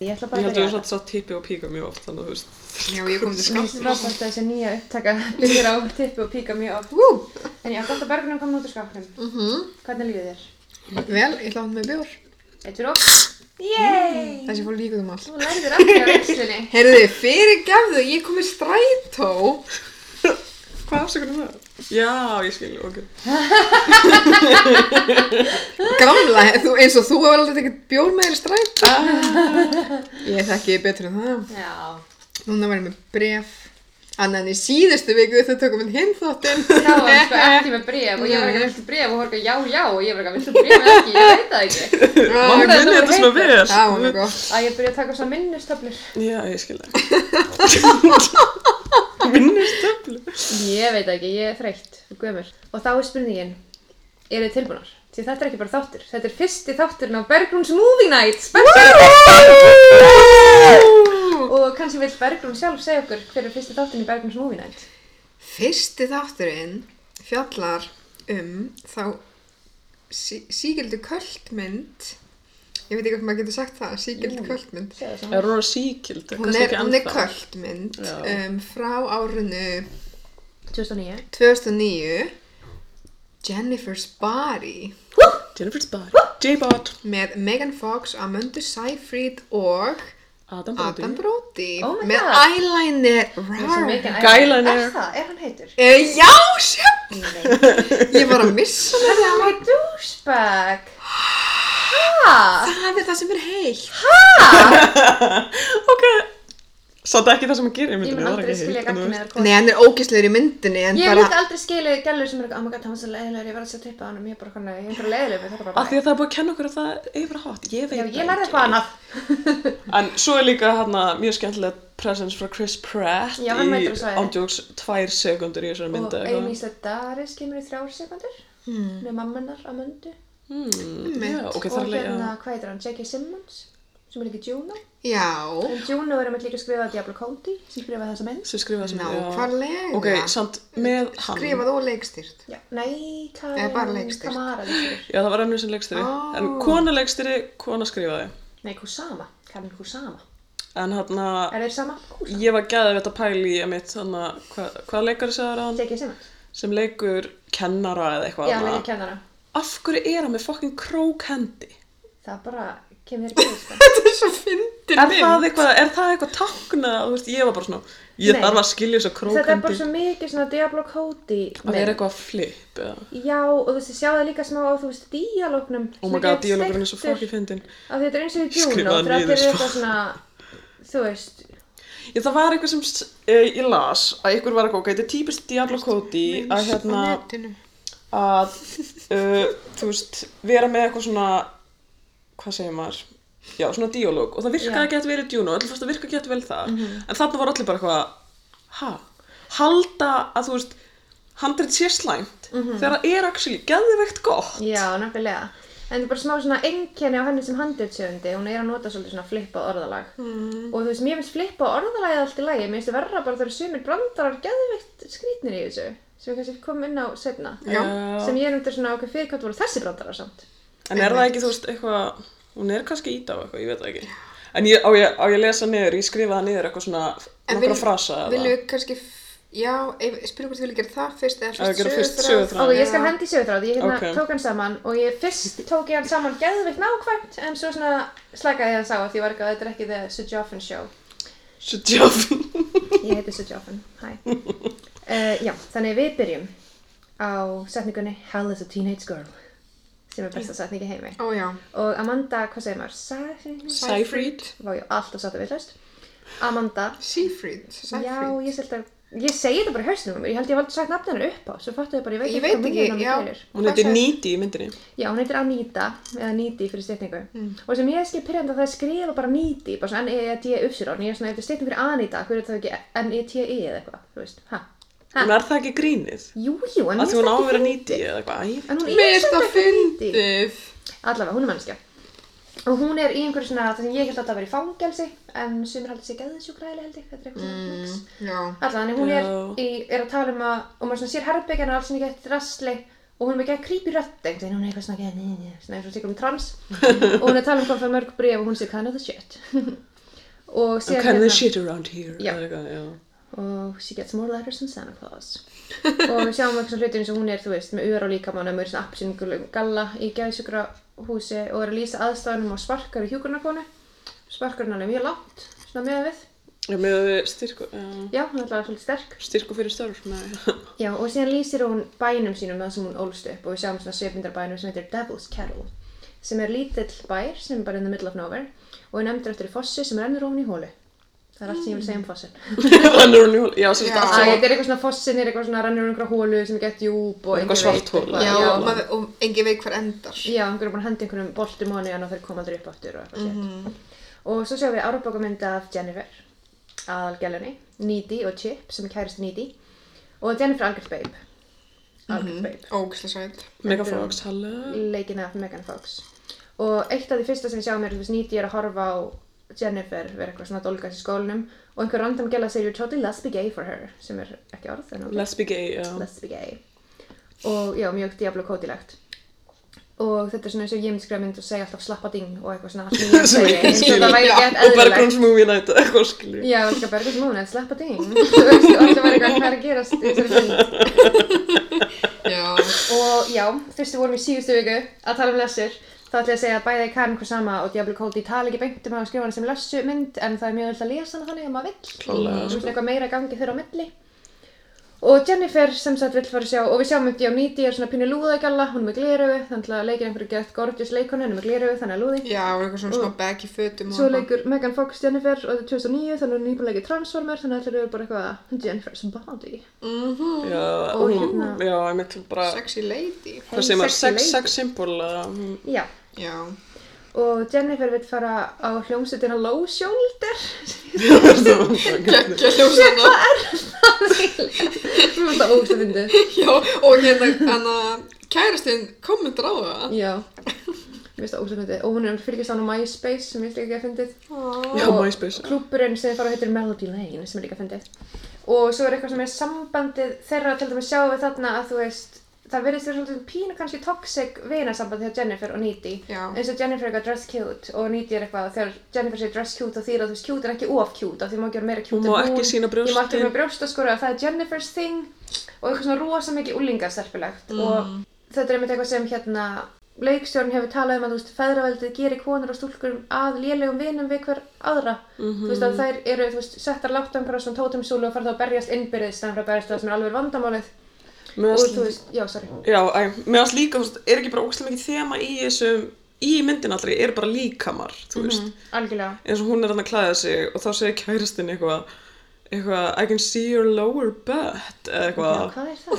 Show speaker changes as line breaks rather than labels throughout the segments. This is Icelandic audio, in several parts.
Ég ætla
Ég
bara að
held að
byrja
við
þetta.
satt satt tippi og píka mjög oft þannig að þú veist
Já, ég kom
Mér
til
finnst
skapnum.
frábært að þessi nýja upptaka byrjar á tippi og píka mjög oft. Wú! En já, gott að Bergrún komin út úr skáknum. Hvernig líður þér?
Mhm.
Mm-hmm.
Vel, ég hlaði með bjór.
Eittur og... Yay!
Þessi fór líka um allt.
Mm. Þú lærður aldrei á reynslunni.
Herðu, fyrir gefðu, ég kom í strætó.
Hvað afsökunum er það? Já, ég skil, ok
Gamla, þú, eins og þú hefur aldrei tekið bjór með þér í strætó. Ég þekki betur en það.
Já.
Núna var ég með bref. Annan í síðustu viku þau tökum við hinn þóttinn.
Þá var hann sko ekki með bref og ég var ekki að viltu bref og horka já, já og ég var ekki að viltu bref ekki, ég veit það ekki.
Má
Það
hún vinni þetta svona vel
var mjög gott.
Að ég byrja að taka svo minnustöflur.
Já, ég skil það Vinnustöflu
Ég veit það ekki, ég er þreytt og gömur. Og þá er spurningin, eru þið tilbúnar? Því þetta er ekki bara þáttur, þetta er fyrsti þátturinn á Bergrúns Movie Night special. Og kannski vil Bergrún sjálf segja okkur hver er fyrsti þátturinn í Bergrúns Movie Night.
Fyrsti þátturinn fjallar um þá sí, sígildu köldmynd ég veit ekki hvað maður getur sagt það sígildu
Jú.
köldmynd
Segðu það saman.
Er hún á síkild?
hún er, hún er köldmynd
Já.
um, frá árinu
2009.
2009 Jennifer's Body
Jennifer's body J-Bot
með Megan Fox, Amanda Seyfried og
Adam Brody
Adam Brody
Oh my
með
God.
eyeliner
Það er svo mikið ævintýri.
rar.
Gælunir.
Er það, er hann heitur?
Eh, Já, sjá,
Nei.
ég var að missa hana.
Hann er douchebag. Hæ?
það er það sem er heilt
Ok Satt ekki það sem hún gerir í
Ég
myndinni,
mun
það er
aldrei
ekki
skilja
heilt, en þú
gagni með
veist.
þér
Nei, hann er ógæslegur í myndinni en
Ég
bara
myndi aldrei skilja gælur sem er eitthvað, oh my god, hann var svo leiðilegur, ég var að setja upp á hann og mér bara konar, ég er bara leiðilegur, þetta er bara
Af því að það er búið að kenna okkur að það er yfir hátt Ég veit
Já, ég
það
lærði
ekki.
eitthvað annað.
En svo er líka hérna mjög skemmtilega presence frá Chris Pratt
Já, hann mætir á
í
svæðið.
ándjóks tvær sekundur í þessari
Og
mynda
Amy Sedaris kemur í þrjár sekundur
Hmm.
með mammanar á möndu.
hmm,
Einmitt.
Já, ok,
og
það er
hérna,
líka
hvað heitir hann, J.K. Simmons, sem er líka Juno.
Já,
En Juno er einmitt líka skrifað Diablo Cody, sem skrifaði þessa mynd.
sem skrifað sem
nákvæmlega
Ok, samt með hann
Skrifað og leikstýrt
Já, nei, Karin,
Nei, bara leikstýrt.
Kamara leikstýrt.
Já, það var annars sem leikstýri
Ó.
En kona leikstýri, kona skrifaði
Nei, Kusama, Karin Kusama.
En hérna,
Er þeir sama? Kusama.
ég var gæðið þetta pæli í að mitt hana, hva, Hvað leikari sagði hann?
J.K. Simmons.
Sem leikur kennara eða eitthvað
Já, hann
þarna.
leikir kennara.
Af hverju er hann með fucking krókendi?
Það bara kemur þér ekki, sko.
Þetta er svo fyndin
Er það eitthvað, er það eitthvað tákna? Þú veist, ég var bara svona, ég
Nei.
þarf að skilja þessu
Þetta er bara
krókendi
svo mikið svona Diablo Cody
Það er eitthvað flip eða
Já, og þú veist, ég sjá það líka smá á, þú veist, díalóknum
Oh my god, díalókurinn er svo fucking fyndin
Af því þetta er eins og í Juno,
Skrifaði
þegar allir
niður,
eru
sko.
eitthvað svona, þú veist,
Já, það var eitthvað sem uh, ég las að ykkur var eitthvað, ok, þetta er típist Diablo Cody að hérna að, uh, þú veist, vera með eitthvað svona, hvað segir maður, já, svona díalóg og það virkaði
Já.
ekki að vera Juno, allir fórst að virka ekki að vel það en þarna var allir bara eitthvað, ha, halda að, þú veist, handrið sé slæmt þegar það er actually geðveikt gott
já, nefnilega En það er bara smá svona enginni á henni sem handritsjöfundi, hún er að nota svolítið svona flippað orðalag. Mm. Og þú veist, mér finnst flippað orðalagið allt í lagi, mér finnst verra bara þegar sumir brandarar geðvikt skrýtnir í þessu, sem við kannski komum inn á setna.
Já.
Já.
Sem ég er um þetta svona, ok, fyrir hvað voru þessi brandarar samt?
En er það ekki, þú veist, eitthvað, hún er kannski ít á eitthvað, ég veit það ekki. En ég, á, ég, á ég að lesa niður, ég skrifa það niður eitthvað svona, nokkra frasa eða?
Viljum við kannski, f- já, ef- spyrjum hvort við viljum gera það fyrst
Á,
eða
gera fyrst
fyrst
söguþráð.
Ok,
sögutráð
ég skal hendi í sögutráð, ég hérna
Ok.
tók hann saman og ég fyrst tók ég hann saman geðvikt nákvæmt en svo svona slakaði ég hann sá að því var ekki að þetta er ekki The Sujoffin Show.
Sjöfn.
Ég heiti Sujoffin, hæ. Uh, já, þannig við byrjum á setningunni Hell is a Teenage Girl sem er besta setning í heimi.
Ó já,
Og Amanda, hvað segir maður? Sæfrín?
Sæfríd.
Vá, ég alltaf satt að við hlust. Amanda,
Seafried,
já,
Seafried
ég held að, ég segi þetta bara í hausnum á mér, ég held ég valdi sagt nafninu upp á, svo fattu ég bara, ég veit
Ég
ekki
veit
hvað
ekki,
munurinn á mér
já.
gerir.
Hún heitir Nýti í myndinni.
Já, hún heitir Anita, eða Niti fyrir stytningu.
Mm.
Og sem ég er skipirjandi að það er skrifa bara Niti, bara svona E N-E-T-E uppsýrón. Ég er svona, ef þetta er stytning fyrir Anita, hverju er það ekki E N-E-T-E eða eitthvað, þú veist, hæ?
Hún er það ekki grínið.
Jú, jú, en
Af því hún á að vera
fyndið.
Nýti eða eitthvað, æ.
En hún
Mér
er
er það
svona fyndið.
fyndið
Allavega, hún er mannskja. Og hún er í einhverju svona, það sem ég held að það veri fangelsi, en sumir haldur sig geðsjúkræðilega held ég, þetta er eitthvað svona mm. mix.
Já,
Allavega, þannig hún er,
Já.
í, er að tala um að, og maður svona sér herbyggjan og alls sem ekki eftir drasli og hún er ekki að creepy rödd einhvern veginn, hún er eitthvað svona, ekki, nei, nei, svona eins og sikur um trans og hún er að tala um hvað fyrir mörg bréf og hún sé kind of the shit og hérna-
I'm
síðan
kind of the shit around here
Já.
eða eitthvað, já.
og she gets more letters than Santa Claus og við sjáum eitthvað svona hlutin eins og hún er, þú veist, með uðar á líkamann og með svona appsinn galla í gæðsugra húsi og er að lýsa aðstæðanum á sparkar í hjúkurnarkonu sparkarinn er alveg mjög lágt, svona meða við
Já, með að við styrku, já,
já, hún er alltaf svolítið sterk
styrku fyrir störf, nei.
já, og síðan lýsir hún bænum sínum það sem hún ólst upp og við sjáum svona svipindar bænum sem heitir Devil's Kettle sem er lítill bær sem er bara in the middle of nowhere og er nefndur eftir fossi sem rennur ofan í hólu það er allt sem ég vil segja um fossin
Þannig er hún í hól, já, sem
Já.
sagt,
Æ,
allt
þetta er eitthvað svona fossin er eitthvað svona rennur um einhverja hólu sem er gett djúb og
Eitthvað
enginn
svart
veit
hol.
eitthvað.
Já,
já,
og, maður, og engin veit hver endar.
já, einhverju búin að henda einhverjum boltum honu en þeir koma aldrei upp aftur og eitthvað mm
Mhm.
og svo sjáum við árabokamynda af Jennifer aðalgjælunni, Needy og Chip sem er kærist Needy og Jennifer algjört babe
Mhm.
algjört babe
Ógislega sætt.
mega frogs, halló.
leikin af Megan Fox og eitt af því fyrsta sem við sjáum er þú veist, Needy er að horfa á Jennifer vera eitthvað svona dólgast í skólinum og einhver random gæla segir you're totally lesbi gay for her sem er ekki orð en ok
Let's be gay, já.
let's be gay og já, mjög Diablo kótilegt og þetta er svona eins og ég myndi skrifa mynd og segja alltaf slappa ding og eitthvað svona allt sem ég
Sem
segi,
ég
eins og
skil.
það væri
Já,
gett
Og
eðlilegt
Bergrunns movie night, eða eitthvað, skilju.
já, það skal bara eitthvað smúna, slappa ding Þú veist, og alltaf væri eitthvað hvað er að gerast í þessari mynd
Já,
og já, fyrst við vorum í síðustu viku að tala um lessur þá ætla ég að segja að bæði Karin hvað sama og Diablo Cody tala ekki beint um að skrifa hana sem lessu mynd en það er mjög öll að lesa hana þannig að maður vill
Klárlega,
Þú
sko.
veist, eitthvað meira gangi þeirra á milli og Jennifer sem sagt vill fara að sjá og við sjáum þetta á nýti er svona pínu lúðagalla hún er með gleruðu, þannig að leikir einhverju gett gorgeous leikonu, hún er með gleruðu, þannig að lúði
já, og eitthvað svona smá bag í fötum og
svo
eitthvað.
leikur Megan Fox Jennifer og þetta er 2009 þannig að hún er nýbúin að leika í Transformer þannig að þetta eru bara eitthvað Jennifer's body
Já,
Og
hún,
hérna-
já, ég myndi bara,
Mhm. Sexy lady.
hvað segir maður,
sexy
sex,
lady.
sex symbol, eða, hún-
já,
Já,
og Jennifer vill fara á hljómsutina Low Shoulder
geggja hljómsana.
Mér finnst það ógst að fyndi
Já, og hérna, hérna, kærastinn kommentar á það.
Já Mér finnst það ógst að fyndi Og hún er að fylgjast án á MySpace sem ég finnst ekki að fyndið
já,
Og
MySpace.
Klúburinn sem þið fara heitir Melody Lane sem er líka fyndið Og svo er eitthvað sem er sambandið þeirra til dæmis sjáum við þarna að þú veist Það verðist þér svolítið pínu kannski toxic vinasambandi hjá Jennifer og Needy
Já.
eins og Jennifer er eitthvað dress cute og Needy er eitthvað þegar Jennifer segir dress cute og þýra þú veist cute er ekki of cute af því má ekki vera meira cute
Hún
en
má ekki sýna
Ég má ekki vera
brjóstin.
með brjóstaskóru að það er Jennifer's thing og eitthvað svona rosa mikið úlingastelpilegt
Mm.
og þetta er einmitt eitthvað sem hérna leikstjórn hefur talað um að þú veist feðraveldið gerir konur og stúlkur að lélegum vinum við hver aðra þú veist
Mhm.
að þær eru þú veist settar látt á einhverja svona tótumsúlu og fara þá að berjast innbyrðis þannig að berjast við það sem er alveg vandamálið
Mér
og
finnst-
þú veist, já sorry
Já, æ, mér finnst líka, þú veist, er ekki bara ógstlega mikið þema í þessum, í myndin allri, er bara líkamar,
Mhm.
þú veist.
algjörlega
eins og hún er hann að klæða sig og þá segir kæristinn eitthvað eitthvað, I can see your lower butt
Já,
eða eitthvað,
hvað er það?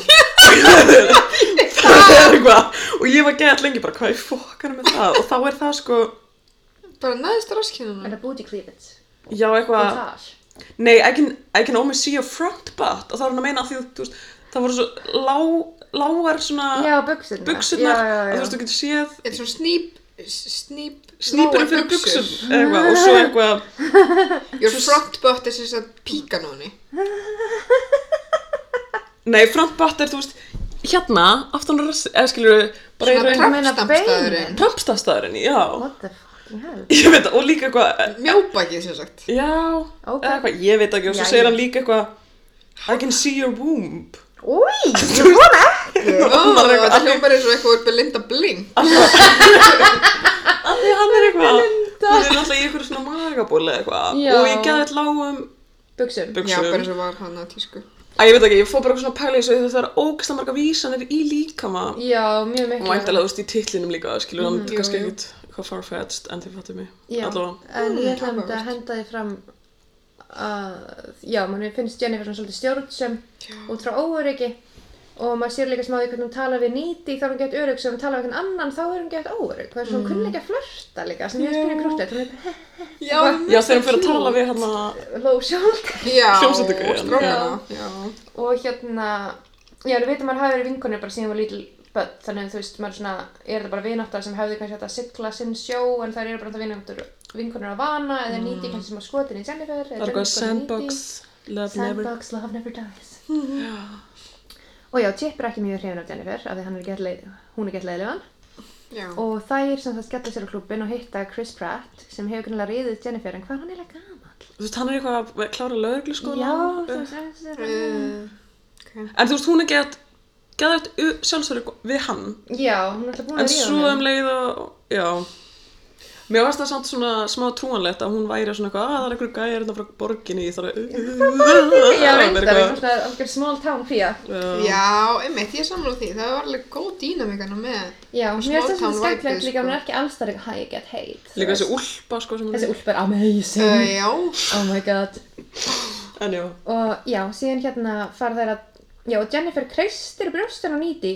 það er eitthvað og ég var gett lengi bara, hvað ég fokkar með það og þá er það sko,
Bara neðist
Er
raskinnuna.
það booty cleavage?
já
Og
eitthvað
þar?
nei, I can, I can only see your front butt og þá er hann að meina að því, þú veist það voru svo lá, lágar svona
Já, buksurnar
buksunar,
Já,
að
já,
Ah. þú
já
veist, þú getur séð
Þetta er svona snýp, snýp,
snýpurinn
lágar
fyrir buksum eitthvað, og svo eitthvað
Your front butt er sem sagt píkan á henni.
Nei, front butt er, þú veist, hérna, aftan á rassi, eða skilur við, bara í
Svona
raun
meina
trappstampstaðurinn.
Trampstafstæðurinn, já.
What the fucking hell?
Ég veit það, og líka eitthvað,
Mjóbakið sem sagt.
já,
Ok.
eða eitthvað, ég veit ekki, og svo
Jæja.
segir hann líka eitthvað, I can see your womb.
Új, ég vona
Ó,
Maður er eitthvað,
Það hljópar eins og eitthvað úr Belinda Blink.
Allir hann er eitthvað, hún er alltaf í eitthvað svona magaból eða eitthvað,
Já.
og ég um geði eitthvað lágum
Buksum
Já, bara
buksum.
eins og var hann sko. að tísku.
Æ, ég veit ekki, ég fór bara eitthvað svona pæla í þessu, þetta er ógæslega marga vísanir í líkama,
Já, mjög
og
miklu
væntalega, þú veist, í titlinum líka, skilur, mm,
Jú,
kannski
jú.
ekkit, hvað farfetched, en þið fattum mig,
Já,
allavega.
en ég ætla einmitt
Mm,
að
áhugavert.
henda því fram að, já, mann finnst Jennifer svona svolítið stjórnsum út frá óöryggi og maður sér líka smá því hvernig hún talar við nýti þá er hún gett örygg sem hún talar við einhvern annan þá er hún gett óörygg hvað er svona, hún kunni ekki að flörta líka sem ég spyrir krútið, hún er
Já,
Já, þegar hann fyrir að tala við hann
low shoulder
já,
Hljómsveitargaujan.
strákana, já.
og hérna, já, við veitum að maður hafi verið vinkonir bara síðan var lítil börn þannig að þú veist, maður svona, er þetta bara vináttar sem hefði kannski hægt að sigla sinn sjó en þær eru bara það vináttur vinkonir að vana eða nýti kannski sem að skotin í Jennifer eða
Það er eitthvað
Jennifer skotin í Needy.
Mm. sandbox, love never.
Sandbox, love never dies Og já, Chip er ekki mjög hrifin af Jennifer af því hann er gett leið, hún er gett leiðilegan
Já.
og þær sem það skella sér á klubin og hitta Chris Pratt sem hefur grunlega riðið Jennifer en hvað er hann eiginlega gamall?
Þú veist, hann er eitthvað að klára lögregluskóla.
Já, þú veist, þessi er
Uh, okay.
En þú veist, hún er gett, gett sjálfsverið við hann.
Já, hún er alltaf búin
En
að
svo
ríða
um leið og, já. Mér varst það samt svona smá trúanlegt að hún væri svona eitthvað, að það er einhver gæri hérna frá borginni, ég þarf að...
Já, reyndar,
eitthvað.
það er svona algjör small town fía
Já.
Já, einmitt, ég er sammála því. Það var alveg góð dýnamikana með.
Já, mér finnst það svona
town vibe,
skemmtilegt líka,
sko.
hún er ekki alls þar eitthvað Hi, I get hate
Líka þessi úlpa, sko, sem hún
Þessi
er.
úlp er amazing
Uh, já,
Oh my god
En já.
Og já, síðan hérna fara þær að Já, og Jennifer kreistir brjóstur á nýti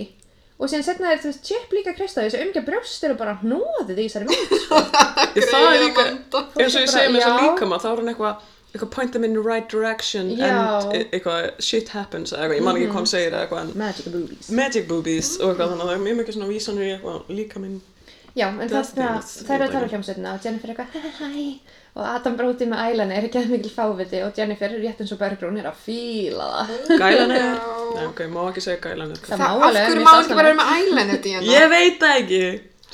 Og síðan setna þær, þú veist, Chip líka kreist á þessu umgja brjóstur og bara hnóðið í þessari mynd sko.
Ég, það er
Greyið
líka,
Amanda.
eins og ég segi með
Bara,
þess að
já.
líkama, þá er hann eitthvað, eitthvað point them in the right direction
Já.
and e- eitthvað shit happens, eða eitthvað, ég man ekki hvað hann segir eða eitthvað, en
Magic Boobies
magic boobies og eitthvað þannig, að það er mjög mikið svona vísanur í eitthvað líkaminn.
Já, en
Does
þarna,
things,
það er
ég
að tala
dæmi.
hljómsveitina og Jennifer er eitthvað hæ hæ og Adam Brody með ælana er ekki að mikil fáviti og Jennifer, rétt eins og Bergrún, er að fíla það
Gælanir?
Já.
Nei, ok, má ekki segja gælanir.
Það
það,
má
af
alveg,
hverju
mér
má
finnst
ekki
það
bara vera með hérna? eyeliner díana?
Ég veit það ekki.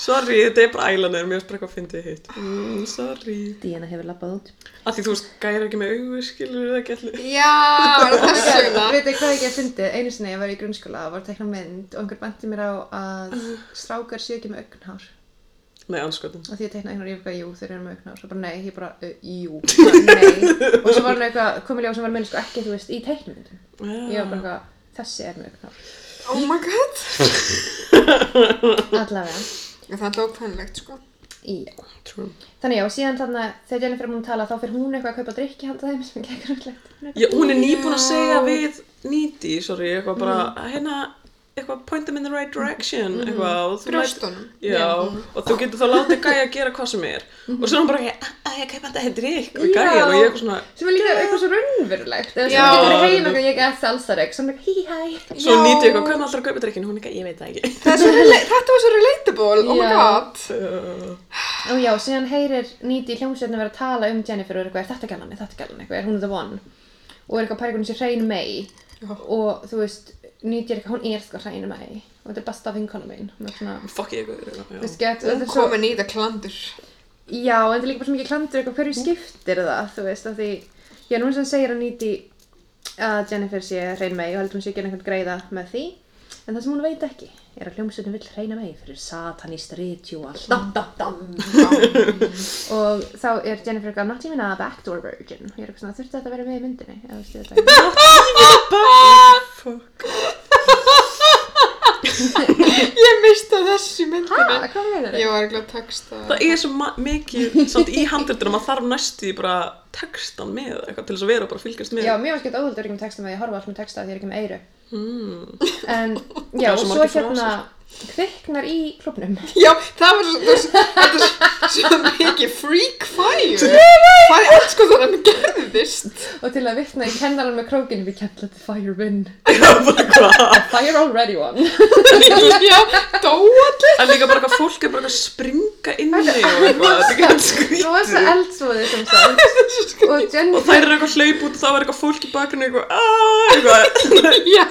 Sorry, þetta er bara ælanir, mér sprekka að fyndi hitt. Mm, sorry.
Diana hefur labbað út
Af því þú veist, gæra ekki með augu, skilur það ekki allir.
Já, er það
Já,
svona?
Veit þið hvað ég hef fundið? Einu sinni ég var í grunnskóla og var að tekna mynd og einhver benti mér á að strákar séu ekki með augnhár
Nei, sko. anskotin.
og því ég tekna einhver yfir hvað, jú, þeir eru með augnhár og bara nei, ég bara, uh, jú, bara, nei og svo var hann eitthvað, komið ljá sem var með sko ekki, þú veist, í teiknumyndum ég var bara eitthvað, þessi er með augnhár
Oh my god.
allavega,
Það er lókvænlegt, sko.
já
Ah, True.
þannig já, og síðan þarna, þegar Jennifer er múin að tala þá fyrir hún eitthvað að kaupa drikki handa þeim sem ekki grunlegt
Já, hún er nýbúin að segja við nýti, sorry, eitthvað bara, hérna, eitthvað point them in the right direction, eitthvað. og þú lætur-
Brjóstunum.
Já, og þú getur þá látið gæja að gera hvað sem er. Og svo er hún bara, "Æ, æ, ég kaupa þetta þetta drikk við gæja og ég er eitthvað svona,
sem er líka eitthvað svo raunverulegt eða sem
Já.
getur verið heim eitthvað ég er salsarek sem er hí hæ
svo
Já.
nýti eitthvað, hvernig alltaf að kaupa drikkin? Hún er eitthvað, ég veit það ekki.
Það er svo rela- Þetta var svo relatable, oh my
Já.
god.
Uh,
og já, síðan heyrir Nýti í hljómsveitinu vera að tala um Jennifer og er eitthvað, er þetta gælan, er þetta gælan eitthvað, er hún the one og er eitthvað pærikunum sér hrein mei
Já.
og þú veist, Nýti er eitthvað, hún er sko hrein mei og þetta er besta vinkona mín hún er svona,
fuck ég eitthvað,
þú
já.
veist, get, þetta
Hún
er svo
komin í það klandur.
já, en þetta er líka bara svo mikið klandur eitthvað, hverju skiptir það, þú veist, af því já, nú sem segir að Nýti að Jennifer sé hrein mei og heldur hún sé að gera einhvern greiða með því en það sem hún veit ekki er að hljómsveitin vill hreina mei fyrir satanist ritual dam, dam, dam. og þá er Jennifer eitthvað not even a backdoor virgin og ég er eitthvað svona þurfti þetta að vera með í myndinni eða þú veist þetta
Fuck.
Ég mista þessu myndinu.
ha, Ah, hvað með
Ég
þetta?
var ekki að texta.
Það er svo ma- mikið, samt í handritunum, maður þarf næstu í bara textan með eitthvað til þess að vera og bara fylgjast með.
Já, mér var skemmt óhald öryggjum textum að ég horfa alls með texta því ég er ekki með eyru
Mm.
en já,
Það er
og
svo
svo
margir
hérna kviknar í klubnum
Já, það var svo, það var svo, þetta er svo- svo mikið freak fire. Hvað er alls sko þannig að gerðist?
og til að vitna í kennaran með krókinu we can't let the fire win
Já, bara hvað?
the fire already won
Já, dóallir.
En líka bara eitthvað fólk er bara eitthvað að springa inn í og eitthvað, þetta er ekki að
Nú var
skrýta.
það eldsvoði sem sagt og
Og
Jennifer
þær eru eitthvað hlaup út og þá er eitthvað fólk í bakinu eitthvað, aaaah, eitthvað,
Já.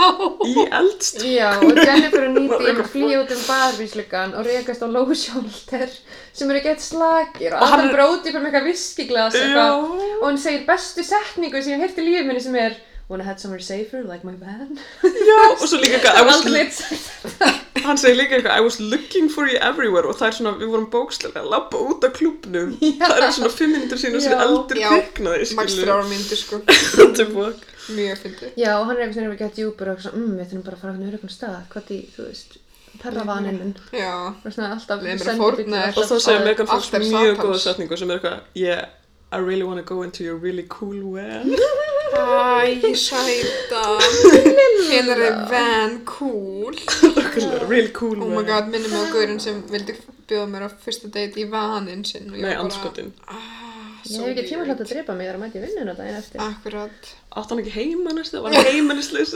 í eldst.
Já, og Jennifer og
Var
Nýti
eitthvað
eru að flýja út um barvísluggan og rekast á lóðsjólder sem eru gett slagir og
Og hann
Adam
er-
Brody bara með eitthvað viskiglas eitthvað
Já.
og hann segir bestu setningu sem ég hef heyrt í lífið minni sem er When I had somewhere safer, like my van
Já, og svo líka eitthvað, I
Það var
was,
aldrei eitt sagt
hann segir líka eitthvað, I was looking for you everywhere og það er svona, við vorum bókslega að labba út af klubnum. Það eru svona fimm minnir síðan og svo
Já.
eldur
Já.
kviknaði,
Max
skilur.
þrjára myndir sko.
What the fuck?
Mjög fyndið.
Já, og hann er einhvern veginn að geta djúpur og svona, mm, við þurfum bara að fara hann öruggum stað hvað því, þú veist, perravaninn
Já.
og svona alltaf
Við erum bara
sendibíll,
fórnaðir.
alltaf-
Og þá segir Megan Fox
allt er
mjög
Satans.
góða setningu sem er eitthvað, yeah, I really wanna go into your really cool van.
Æ, sæta. Hennar er van cool.
Real cool
Oh my god, minnum mig á gaurinn sem vildi bjóða mér á fyrsta date í vaninn sinn. og ég
Nei,
var bara,
anskotin.
Ah,
Ég
so
hef ekki tíma
weird.
hlut að drepa mig þar að mæti vinnuna daginn eftir
Ah.
Akkurat.
Átt hann ekki heima næstu? Var hann heimilisleis?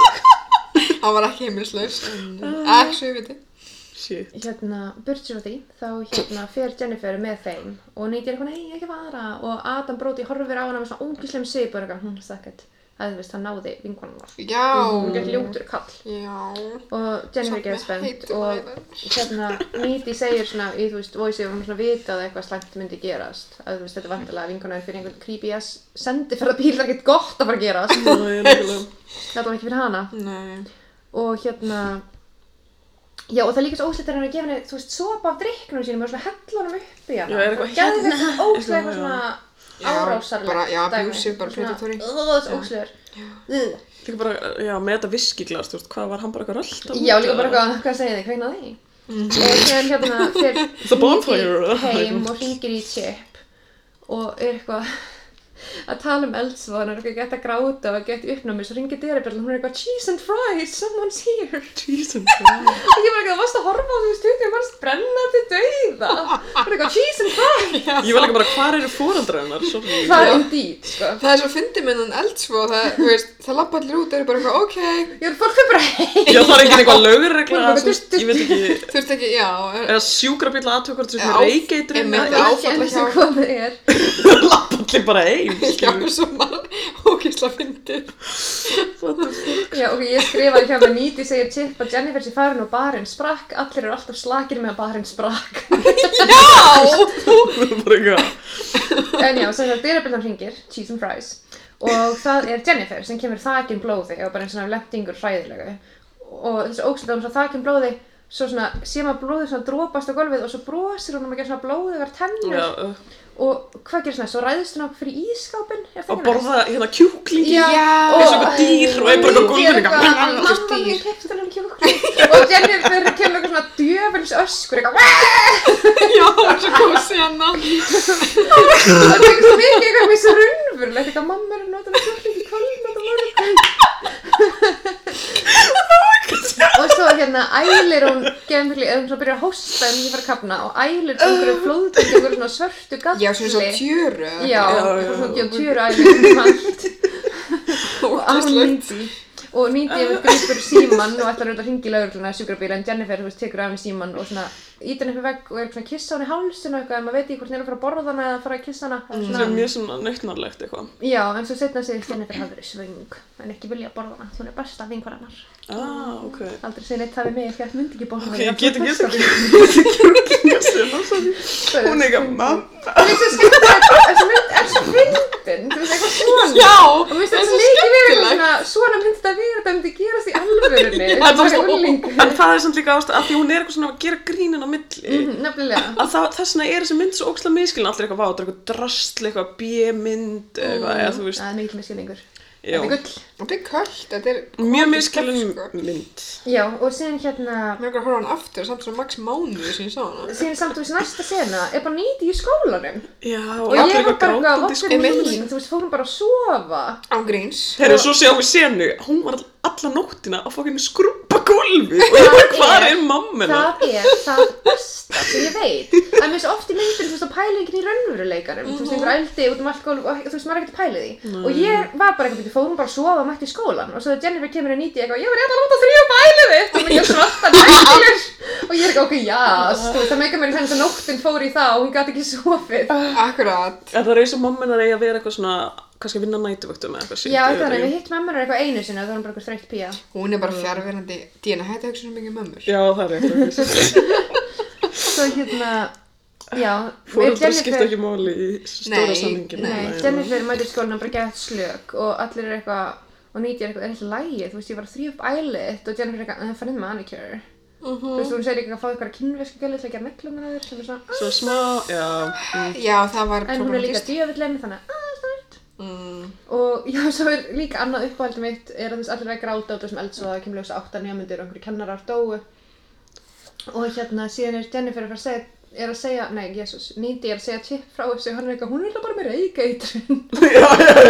Hann var ekki heimilislaus. en- Actually, við þið.
Shit.
hérna, burt sér á því, þá hérna fer Jennifer með þeim og Nate er eitthvað, "Hmm, nei, ekki fara og Adam Brody horfir á hana með svona ógíslega svip og er eitthvað, hún, stakkett að þú veist, hann náði vinkonum var hún
Já.
Mm.
gett ljótur kall
Já.
og Jennifer
Samt með
gett spennt
heitu
og
æðar.
hérna Nýti segir svona í þú veist, voice yfir hún svona vitað að eitthvað slæmt myndi gerast að þú veist, þetta er vantilega vinkonar fyrir einhvern creepy ass sendi fyrir að bíl er ekkert gott að fara að gerast
Nei, nákvæmlega.
þetta var ekki fyrir hana
Nei.
og hérna Já, og það er líka svo óslætt þegar hann er að gefa henni, þú veist, sopa af drikknum sínum og svona hella honum upp í hana.
Já, er eitthvað
Geðveikt
hérna.
ógeðslega
Eitthvað,
eitthvað svona
Já,
árásarlegt.
bara- já,
dæmi.
abusive, bara
Svona,
predatory.
"Ugh, Það er óslæður.
Líka bara, já, með þetta viskiglas, þú veist, hvað var hann bara eitthvað rölt?
Já, líka bara eitthvað, hvað segir þið, kveikna því? Og þegar hérna, þegar
Mm. The bonfire, eða?
heim og hringir í Chip og er eitthvað að tala um eldsvoðan og er eitthvað gett að gráta og gett uppnámi svo hringir dyrabjörn og hún er eitthvað cheese and fries, someone's here
Jesus Christ.
og ég var eitthvað, þú varst að horfa á því stundum og varst brennandi dauða og er eitthvað cheese and fries
Ég var líka bara, hvar eru fórandra hennar? Sorry.
það er indeed, sko
Það er svo fyndið með hann eldsvo, það, þú veist, það lappa allir út, það eru bara eitthvað, ok,
ég er fólk fyrir bara heim
Já, það er ekkert eitthvað lögregla,
Bara,
þú veist, ég veit ekki,
þurft ekki, já, er,
eða sjúkrabíla aðtökur, þú veist,
Já,
með reykeitrun,
einmitt,
það
eða
er ekki enn sem
Áfallahjálp.
komið er
lappallir bara heim,
já,
skilur.
svo mann, ógisla fyndið.
Já, ok, ég skrifaði hjá mig nýti segir Chip að Jennifer sé farin og barinn sprakk allir eru alltaf slakir með að barinn sprakk
Já!
Bara eitthvað,
en já, sem það dyrabildan hringir, cheese and fries og það er Jennifer sem kemur þakin blóði og bara eins og svona lendingur hræðilegu og þessi ógstum það er svona þakin blóði svo svona, sé maður blóðið svona drópast á golfið og svo brosir hún um að gera svona blóðugar tennur
já, uh,
og hvað gerir svona, svo ræðist hún á fyrir ískápin er það ekki
að
næst?
borða hérna kjúklingi,
Já,
Já.
eins og eitthvað dýr og er bara eitthvað á gólfinu,
Mikið eitthvað,
eitthvað.
"Mamma,
Mamma
dýr."
mér kefti hennar kjúkling og Jennifer kemur eitthvað svona djöfins öskur eitthvað
Já, það er svo kósi hennan.
og það tekur svo mikið eitthvað mjög svo raunverulegt eitthvað mamma er að nota hennar kjúkling í kvöld nota morgun og svo hérna ælir hún gemfili eða hún svo byrjar að hósta en ég fara að kapna og ælir svo einhverju flóðbyrgi einhverju svona svörtu galli
Já, sem svo tjöru.
Já,
Já,
og
já.
svona gefur tjöru ælir um allt og
ógislegt.
nýndi og nýndi ég grýpur síman og ætlar auðvitað að hringi í laurugluna sjúkrabíla en Jennifer þú veist, tekur af henni síman og svona ítir henni upp í vegg og er svona að kissa henni í hálsin og eitthvað en maður veit ekki hvort henni er að fara að borða hana eða að fara að kissa hana mm.
Það er
svona,
mjög svona nautnarlegt eitthvað.
já, en svo setna sig Jennifer hafi verið svöng en ekki vilja að borða hana hún er besta vingur hennar
Ah, ok.
aldrei segja neitt það við mig ekki að myndi ekki borða
Ok,
hana
ég get ekki
það
þetta kjúklingi, hún er eitthvað mamma.
þessi mynd er svo fyndin þú veist eitthvað svona
Já,
og mér finnst
það er
þetta
svo
leikið verið eitthvað
skemmtilegt.
svona svona myndi þetta vera þetta myndi gerast í alvörunni
En það er
svona
svona-
unglingur.
en það er samt líka ástæð að því hún er eitthvað svona að gera grínin á milli
Mhm, Nefnilega.
að það, þess vegna er þessi mynd svo ókslega miskilin allir eitthvað vá, það er eitthvað drastl, eitthvað bjömynd eitthvað, eða þú veist
Mm. Það er mikil miskilningur.
já,
Þetta er gull.
Þetta er köld, þetta er
mjög
kósí
miskilin
stöff, sko.
mynd
Já, og síðan hérna,
Mér er að horfa á hann aftur, samt svo max mánuði sem ég sá hana.
síðan samt og þessi næsta sena er bara nýti í skólanum.
já, og
Og ég
allir
var
eitthvað
bara eitthvað
grátandi
okkur
sko
skólanum.
mín, þú veist, fórum bara að sofa.
Án gríns.
Herru, svo sjáum við senu, hún var alla nóttina að fokkinu skrúpa gólfi og ég bara, hvað er mammina?
Það er það besta sem ég veit. Það er mér svo oft í myndin, þú veist, að pæla ekki í raunveruleikanum.
Mhm.
Þú veist, einhver ældi út um allt gólf og þú veist, maður er ekkert að pæla í því. Og ég var bara eitthvað, fórum bara að sofa og mætti í skólan. Og svo þegar Jennifer kemur að nýti eitthvað, ég var eitthvað að láta þrjú bælið þitt og mér er svarta nættilur. Og ég er eitthvað, ok, jás, þú veist, það meika mér í þess að nóttin fór í það og hún gæti ekki sofið.
Ah,
Akkurat.
En það er eins og mammina reyja að vera eitthvað svona, kannski að vinna nætuvöktum eða eitthvað shit,
Já,
ég veit
þetta er
ekki.
að við hitt mammur eitthvað einu sinni og það var hún bara eitthvað þreytt pía.
Hún er bara fjárverandi. Díana, hætti að hugsa svo mikið um mömmur.
Já, það er eitthvað,
Svo hérna, já,
fóröldra
Jennifer-
skipta ekki máli í stóra
Nei,
samhenginu.
Nei, Jennifer mætir skólanum bara gett slök og allir eru eitthvað, og nýtja er eitthvað, er eitthvað lægið, þú veist, ég var að þrýja upp æliðt og Jennifer er eitthvað, það fann inn manicure. Þú veist, hún segir eitthvað að fá eitthvað kynveska gæli til að gera neglum hennar sem er svona,
Svo smá, já, mm,
Já, það var
"Ah," en hún er líka
problematískt.
djöfullin, þannig að, að, snart.
Mm.
Og já, svo er líka annað uppáhaldum mitt er að þess allir að gráta út af þessum eldsvoða, kemur ljósa átta nefnundir og einhverju kennarar dóu. Og hérna, síðan er Jennifer að fara að segja, er að segja, nei, Jesus, Nýndi er að segja tipp frá þessu, hann er eitthvað, hún er eiginlega bara með reykeitrun.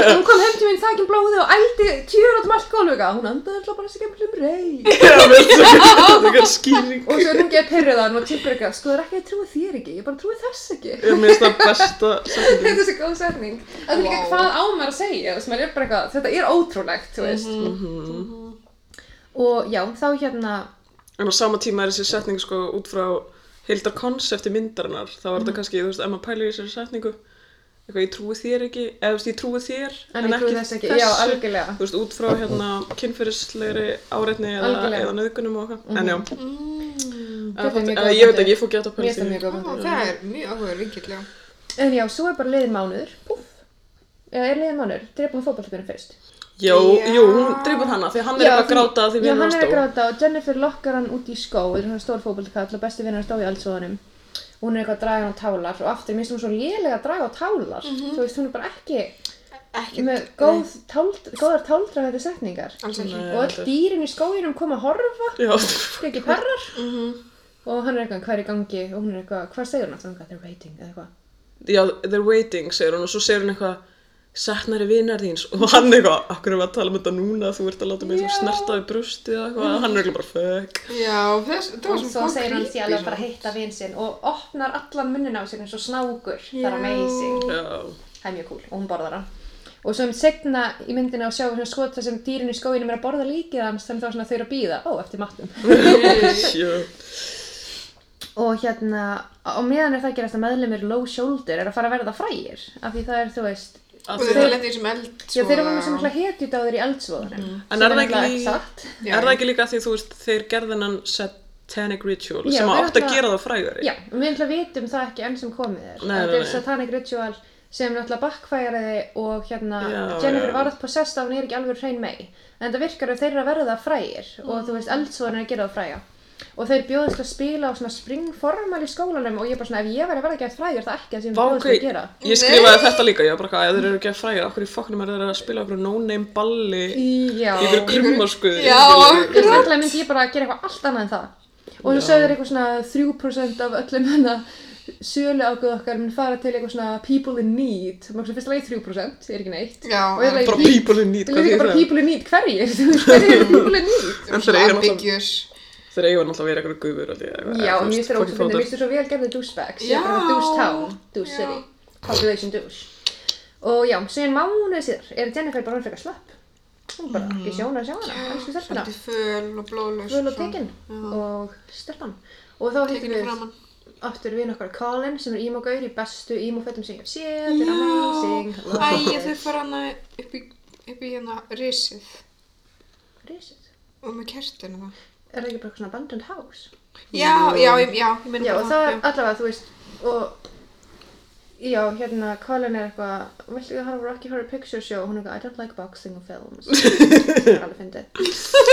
hún kom heim til mín þakin blóði og ældi tjur át um allt gólfuga, hún andaði alltaf bara þessi kemur um reyk.
Já, veistu, það er skýring.
Og svo er hún geð pyrrið á hann og tippur eitthvað, sko, það er ekki að trúa þér ekki, ég bara trúi þess ekki.
Ég minnst það besta setningin.
Þetta er svo góð setning. Þetta er líka
Vá.
hvað á maður að segja, þess að maður er bara eitthvað, þetta er ótrúlegt, þú veist. Mhm. Og já, þá hérna,
En á sama tíma er þessi setning sko
Mhm.
út frá heildar konsepti myndarinnar. Þá var þetta kannski, þú veist, ef maður pælir í þessari setningu, eitthvað ég trúi þér ekki, eða þú veist, ég trúi þér
En ég trúi þess ekki, já, algjörlega.
þú veist, út frá hérna kynferðislegri áreitni eða,
Algjörlega. Mhm.
eða nöðgunum og eitthvað, en já
Þetta er mjög
Eða
góð
þetta- eða ég veit
punktur.
ekki, ég fór geta
Mér finnst það mjög góð punktur.
Ó, það er mjög áhugaður vinkill, já.
En já, svo er bara liðin mánuður, púff. Eða er liðin mánuður, drepa hann fótballtabirinn fyrst.
Jú,
Já.
jú, hún dreipur hana því að hann er
Já,
eitthvað að gráta því
Já,
við
hann
hann
er að
stó
gráta og Jennifer lokkar hann út í skó, þetta er hann stór fótballtakall og besti vinnur hann stó í eldsvoðanum. Og hún er eitthvað að draga hann á tálar og aftur minnst hún svo lélega að draga á tálar. Þú veist, hún er bara ekki
Mhm. Ekki
með góð, táld, góðar táldræðandi setningar.
Alls ekki.
Nei.
Og öll dýrin í skóginum kom að horfa,
Já, Mhm.
ekki perrar.
Mhm.
Og hann er eitthvað, hvað er í gangi? Og hún er eitthvað, hvað segir hún aftur? Hún er eitthvað, they're waiting, eða eitthvað.
já, they're waiting, segir hún og svo segir hún eitthvað setnari vinar þíns og hann eitthvað, akkur erum við að tala um þetta núna þú ert að láta mig þú snerta við brustið eða eitthvað, hann er eitthvað bara fuck
Já, þess, það var
og
svona
svo
smá
segir hann
creepy
sé alveg
samt.
bara að hitta vinn sinn og opnar allan munnin á sig eins og snákur það er
Já.
amazing,
Já,
það er mjög cool og hún borðar hann og svo um segna í myndinu að sjá svona skot þar sem dýrin í skóginum er að borða líkið hans þannig þá svona þau eru að býða, ó, eftir matnum
sjö
og hérna, og meðan er það að gerast að meðlumir low shoulder er að fara að verða frægir af því það er, þú veist
Og
Af því
þeir
að-
lendir í þessum eld sko.
já, þeir eru sem ekki hetjudáður í eldsvoðanum
En
Sem
er það
náttúrulega
ekki líka-
satt.
Já.
Er það ekki líka því þú veist, þeir gerðinan satanic ritual
Já,
sem
þeir
átt að
ætla-
gera það frægari
Já, og við náttúrulega vitum það ekki enn sem komið er.
Nei, nei,
Þetta er
nei.
satanic ritual sem náttúrulega backfæriði og hérna
Já,
Jennifer
já.
varð possessed af hún er ekki alveg hrein mei. En það virkar að þeir eru að verða frægir og þú veist eldsvoðan er að gera það fræga. Og þeir bjóðast að spila á svona springformal í skólanum og ég bara svona ef ég væri að verða gett frægur það er ekki það sem
Vá,
þeir bjóðast
ok,
að gera.
ég skrifaði þetta líka, ég var bara eitthvað, ef þeir eru ekki að fræga, okkur í fokknum er þeir að spila okkur no-name balli í
Já.
ykkur krummarskuði
Já,
Ég ætlaði myndi ég bara að gera eitthvað allt annað en það. Og þú
Já.
sögður eitthvað svona 3% af öllum hérna sölu ágöð okkar mun fara til eitthvað svona people in need. Það er fyrsta leið 3%, er ekki neitt.
Já,
Og ég
en-
leik-
bara people in need
Þetta
hvað
er líka
þýðir
bara
það?
people in need, hverjir? Þú veist, Hverjir eru people in need?
En þeir eiga náttúrulega-
ambiguous.
þeir eiga náttúrulega að vera eitthvað guður held ég,
Já,
eitthvað, eða, þú
mér
veist,
finnst þér ógst að finna,
fucking
mér
fótur.
finnst þér svo vel gerðið douchebags. Ég er
Já.
bara douche town, douche
Já.
city, population douche. Og já, síðan mánuð síðar er Jennifer bara orðin frekar slöpp. Hún er bara ekki sjón að sjá hana, elsku stelpuna.
Svolítið föl og blóðlaus.
Völ og tekinn og stelpan. Og þá hittum
Tekinn í
við
framann.
aftur við okkar Colin sem er emo-gaur í bestu emo-fettum sem ég hef séð. Þetta er amazing.
Já, æ, þau fara hana upp í, upp í hérna risið
Risið.
og með kertinu það.
Er það ekki bara eitthvað svona abandoned house?
Já, já, ég- já, ég meina
Já,
bara
og það er
já.
allavega, þú veist, og Já, hérna, Colin er eitthvað, viltu ekki að horfa á Rocky Horror Picture Show? Hún er eitthvað, I don't like boxing films. Það er alveg fyndið.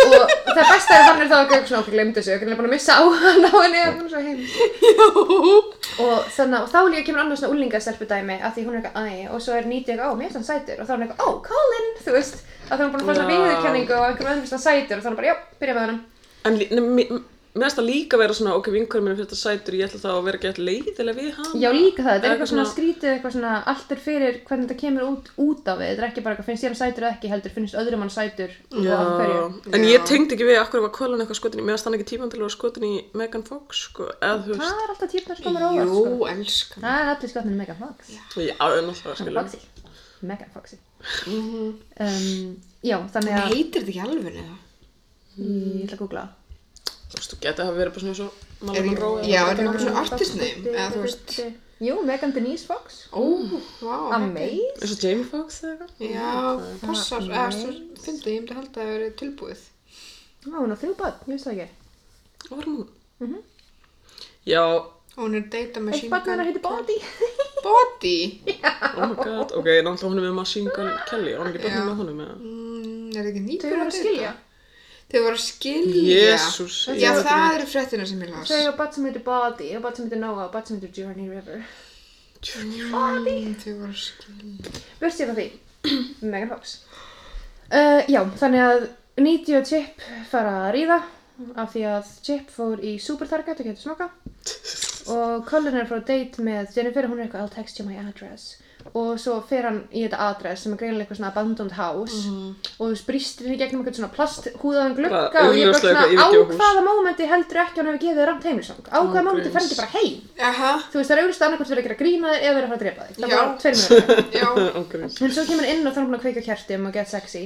Og það besta er að hann er þá eitthvað svona, okkur glemdi þessu, okkur er bara að missa á hann á henni, og hún er svo heim. og þannig og þá líka kemur annars svona úlingastelpu dæmi að því hún er eitthvað æ og svo er nýtið eitthvað á mér er hann sætur og þá er hann eitthvað ó Colin þú veist að það er búin að fá svona
Já.
viðurkenningu og einhverjum öðrum finnst hann sætur og þá er hann bara já byrja með hann
en lí- nei, mér mér finnst það líka að vera svona ok, vinkurinn minn er þetta sætur, ég ætla þá að vera ekki alltaf leiðilega við hann
já líka það þetta er
Eitthvað
eitthvað svona
svona-
skrítið eitthvað svona allt er fyrir hvernig þetta kemur út út af við þetta er ekki bara eitthvað finnst ég hann sætur eða ekki heldur finnst öðrum hann sætur og af hverju
en ég
Já.
tengdi ekki við akkur var kvölan eitthvað skotin í, mér finnst hann ekki tíman til að vera skotin í Megan Fox sko, eða þú veist
það er alltaf típnar sem komur óvart
Jú,
sko.
elskan.
það er allir skotnir mega fox
já, en alltaf skilja
foxy mega foxy
Mhm.
um, já þannig
Það
að
heitir þetta ekki alveg neða.
ég ætla að googla
þú veist, þú getið að vera bara svona eins og
Er-
Malin Monroe
já,
eða-
er- bara svona artist name, eða þú veist.
Jú, Megan Denise Fox
Ó, vá.
Amazing
eins og Jamie Fox eða eitthvað
Já, passar, eða þú finnst ég myndi að halda að það verið tilbúið.
Ó, hún á þrjú börn, ég veist það ekki
Var hún?
Mhm.
Já, oh
Og hún er að deyta með
Eitt barn hennar heitir Body
Body?
oh my god, ok, náttúrulega hún er með Machine Gun Kelly, er hún ekki
Já.
börnum með honum eða?
Mm, er það ekki nýpur
Þau voru að skilja
Þau voru að skilja.
Jésús,
Já,
ég veit
það eru fréttina sem ég las.
Þau á barn sem heitir Body, á barn sem heitir Noah, á barn sem heitir Journey River
Body. Mm, Þau voru að skilja.
Burt sér frá því Megan Fox uh, Já, þannig að Needy og Chip fara að ríða af því að Chip fór í Super Target og getur smaka og Colin er frá date með Jennifer hún er eitthvað I'll text you my address og svo fer hann í þetta address sem er greinilega eitthvað svona abandoned house og þú sprýst henni gegnum eitthvað svona plasthúðaðan glugga
Mhm. Bara
og ég er bara svona á
augljóslega eitthvað yfirgefið hús.
hvaða mómenti heldur ekki hann hefur gefið ramt heimlisang á hvaða
Án
mómenti fer
gríns.
ekki bara heim
Aha,
þú veist það er auðvitað annarkvæmt verið að gera grína þér eða verið að fara að drepa þig það
Já.
er bara tveir mjög
já.
Ok,
En svo kemur hann inn og þá er hún að kveika kjartum og get sexy.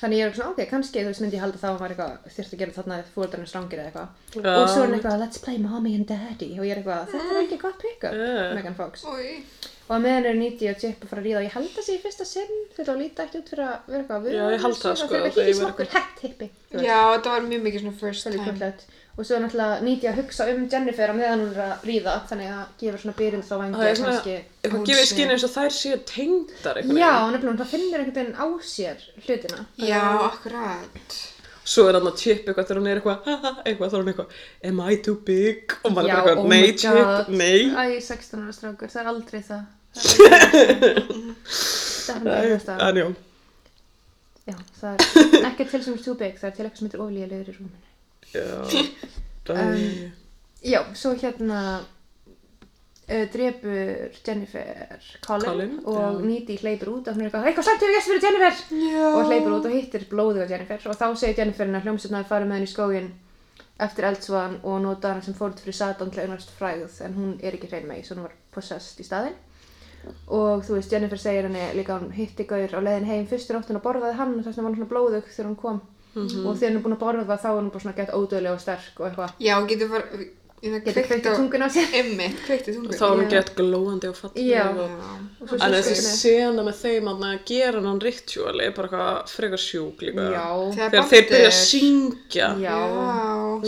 Þannig ég er svona, ok, kannski, þú veist, myndi ég halda þá að maður eitthvað þyrfti að gera þarna fóröldarinn strangir eða eitthvað.
Já.
Og svo er hann eitthvað, let's play mommy and daddy. Og ég er eitthvað, þetta er ekki gott pick-up,
Yeah.
Megan Fox.
Úi.
og að meðan eru 90 og Chip að fara að ríða og ég held að sé í fyrsta sinn þetta að líta ekki út fyrir að vera eitthvað
Já, ég held það, sko,
þegar
þegar
við
ég
hýttum
var
okkur hætt hippi þú veist.
Já, þetta var mjög mikið svona first
svolítið
time.
kvöldlegt og svo er náttúrulega nýti að hugsa um Jennifer á meðan hún er að ríða þannig að gefur svona byrjum þá vangi
Það er svona,
kannski
eitthvað
Hún
gefið
sé-
skinn eins og þær séu tengdar einhvern
já,
veginn.
nefnilega, hún það finnur einhvern veginn á sér hlutina
Já, akkurat.
Svo er hann að chip eitthvað þegar hún er eitthvað, haha, eitthvað, þá er hún eitthvað, am I too big? Og maður
já, oh
er bara eitthvað, nei, chip, nei.
Æ, 16 ára strákur, það er aldrei það Það er aldrei það. Það er aldrei það.
En já,
Já, það er ekki til sem er too big, það er til eitthvað sem heitir oflíðilegur í rúminu.
já,
Um, Já, svo hérna uh, drefur Jennifer Colin,
Colin,
og
já.
Needy hleypur út og hún er eitthvað, eitthvað sættu við gæst fyrir Jennifer!
Já.
Og hleypur út og hittir blóðið á Jennifer og þá segir Jennifer hennar hljómsveitnaði fara með henni í skóginn eftir eldsvaðan og nota hana sem fórut fyrir Satan til einhverjast fræð en hún er ekki hrein með því, svo hún var possessed í staðinn og þú veist, Jennifer segir henni líka að hún hitti gaur á leiðin heim fyrstu nóttin og borðaði hann og þess vegna var hún svona blóðug þegar hún kom og þegar hún er búin að borða þá er hún bara svona gett ódöðlega og sterk og eitthvað
Já, getur bara, ég það
getur kveikt í tungun á sér
Emmi, kveikt í tungun.
þá er hún
Já.
gett glóandi og fallið.
Já.
Já.
og svo
En þessi
sýstirnar-
sena með þeim þarna, að gera hann ritual er bara eitthvað frekar sjúk líka.
já,
Þegar þeir byrja að
Þegar
syngja,
já,
Já.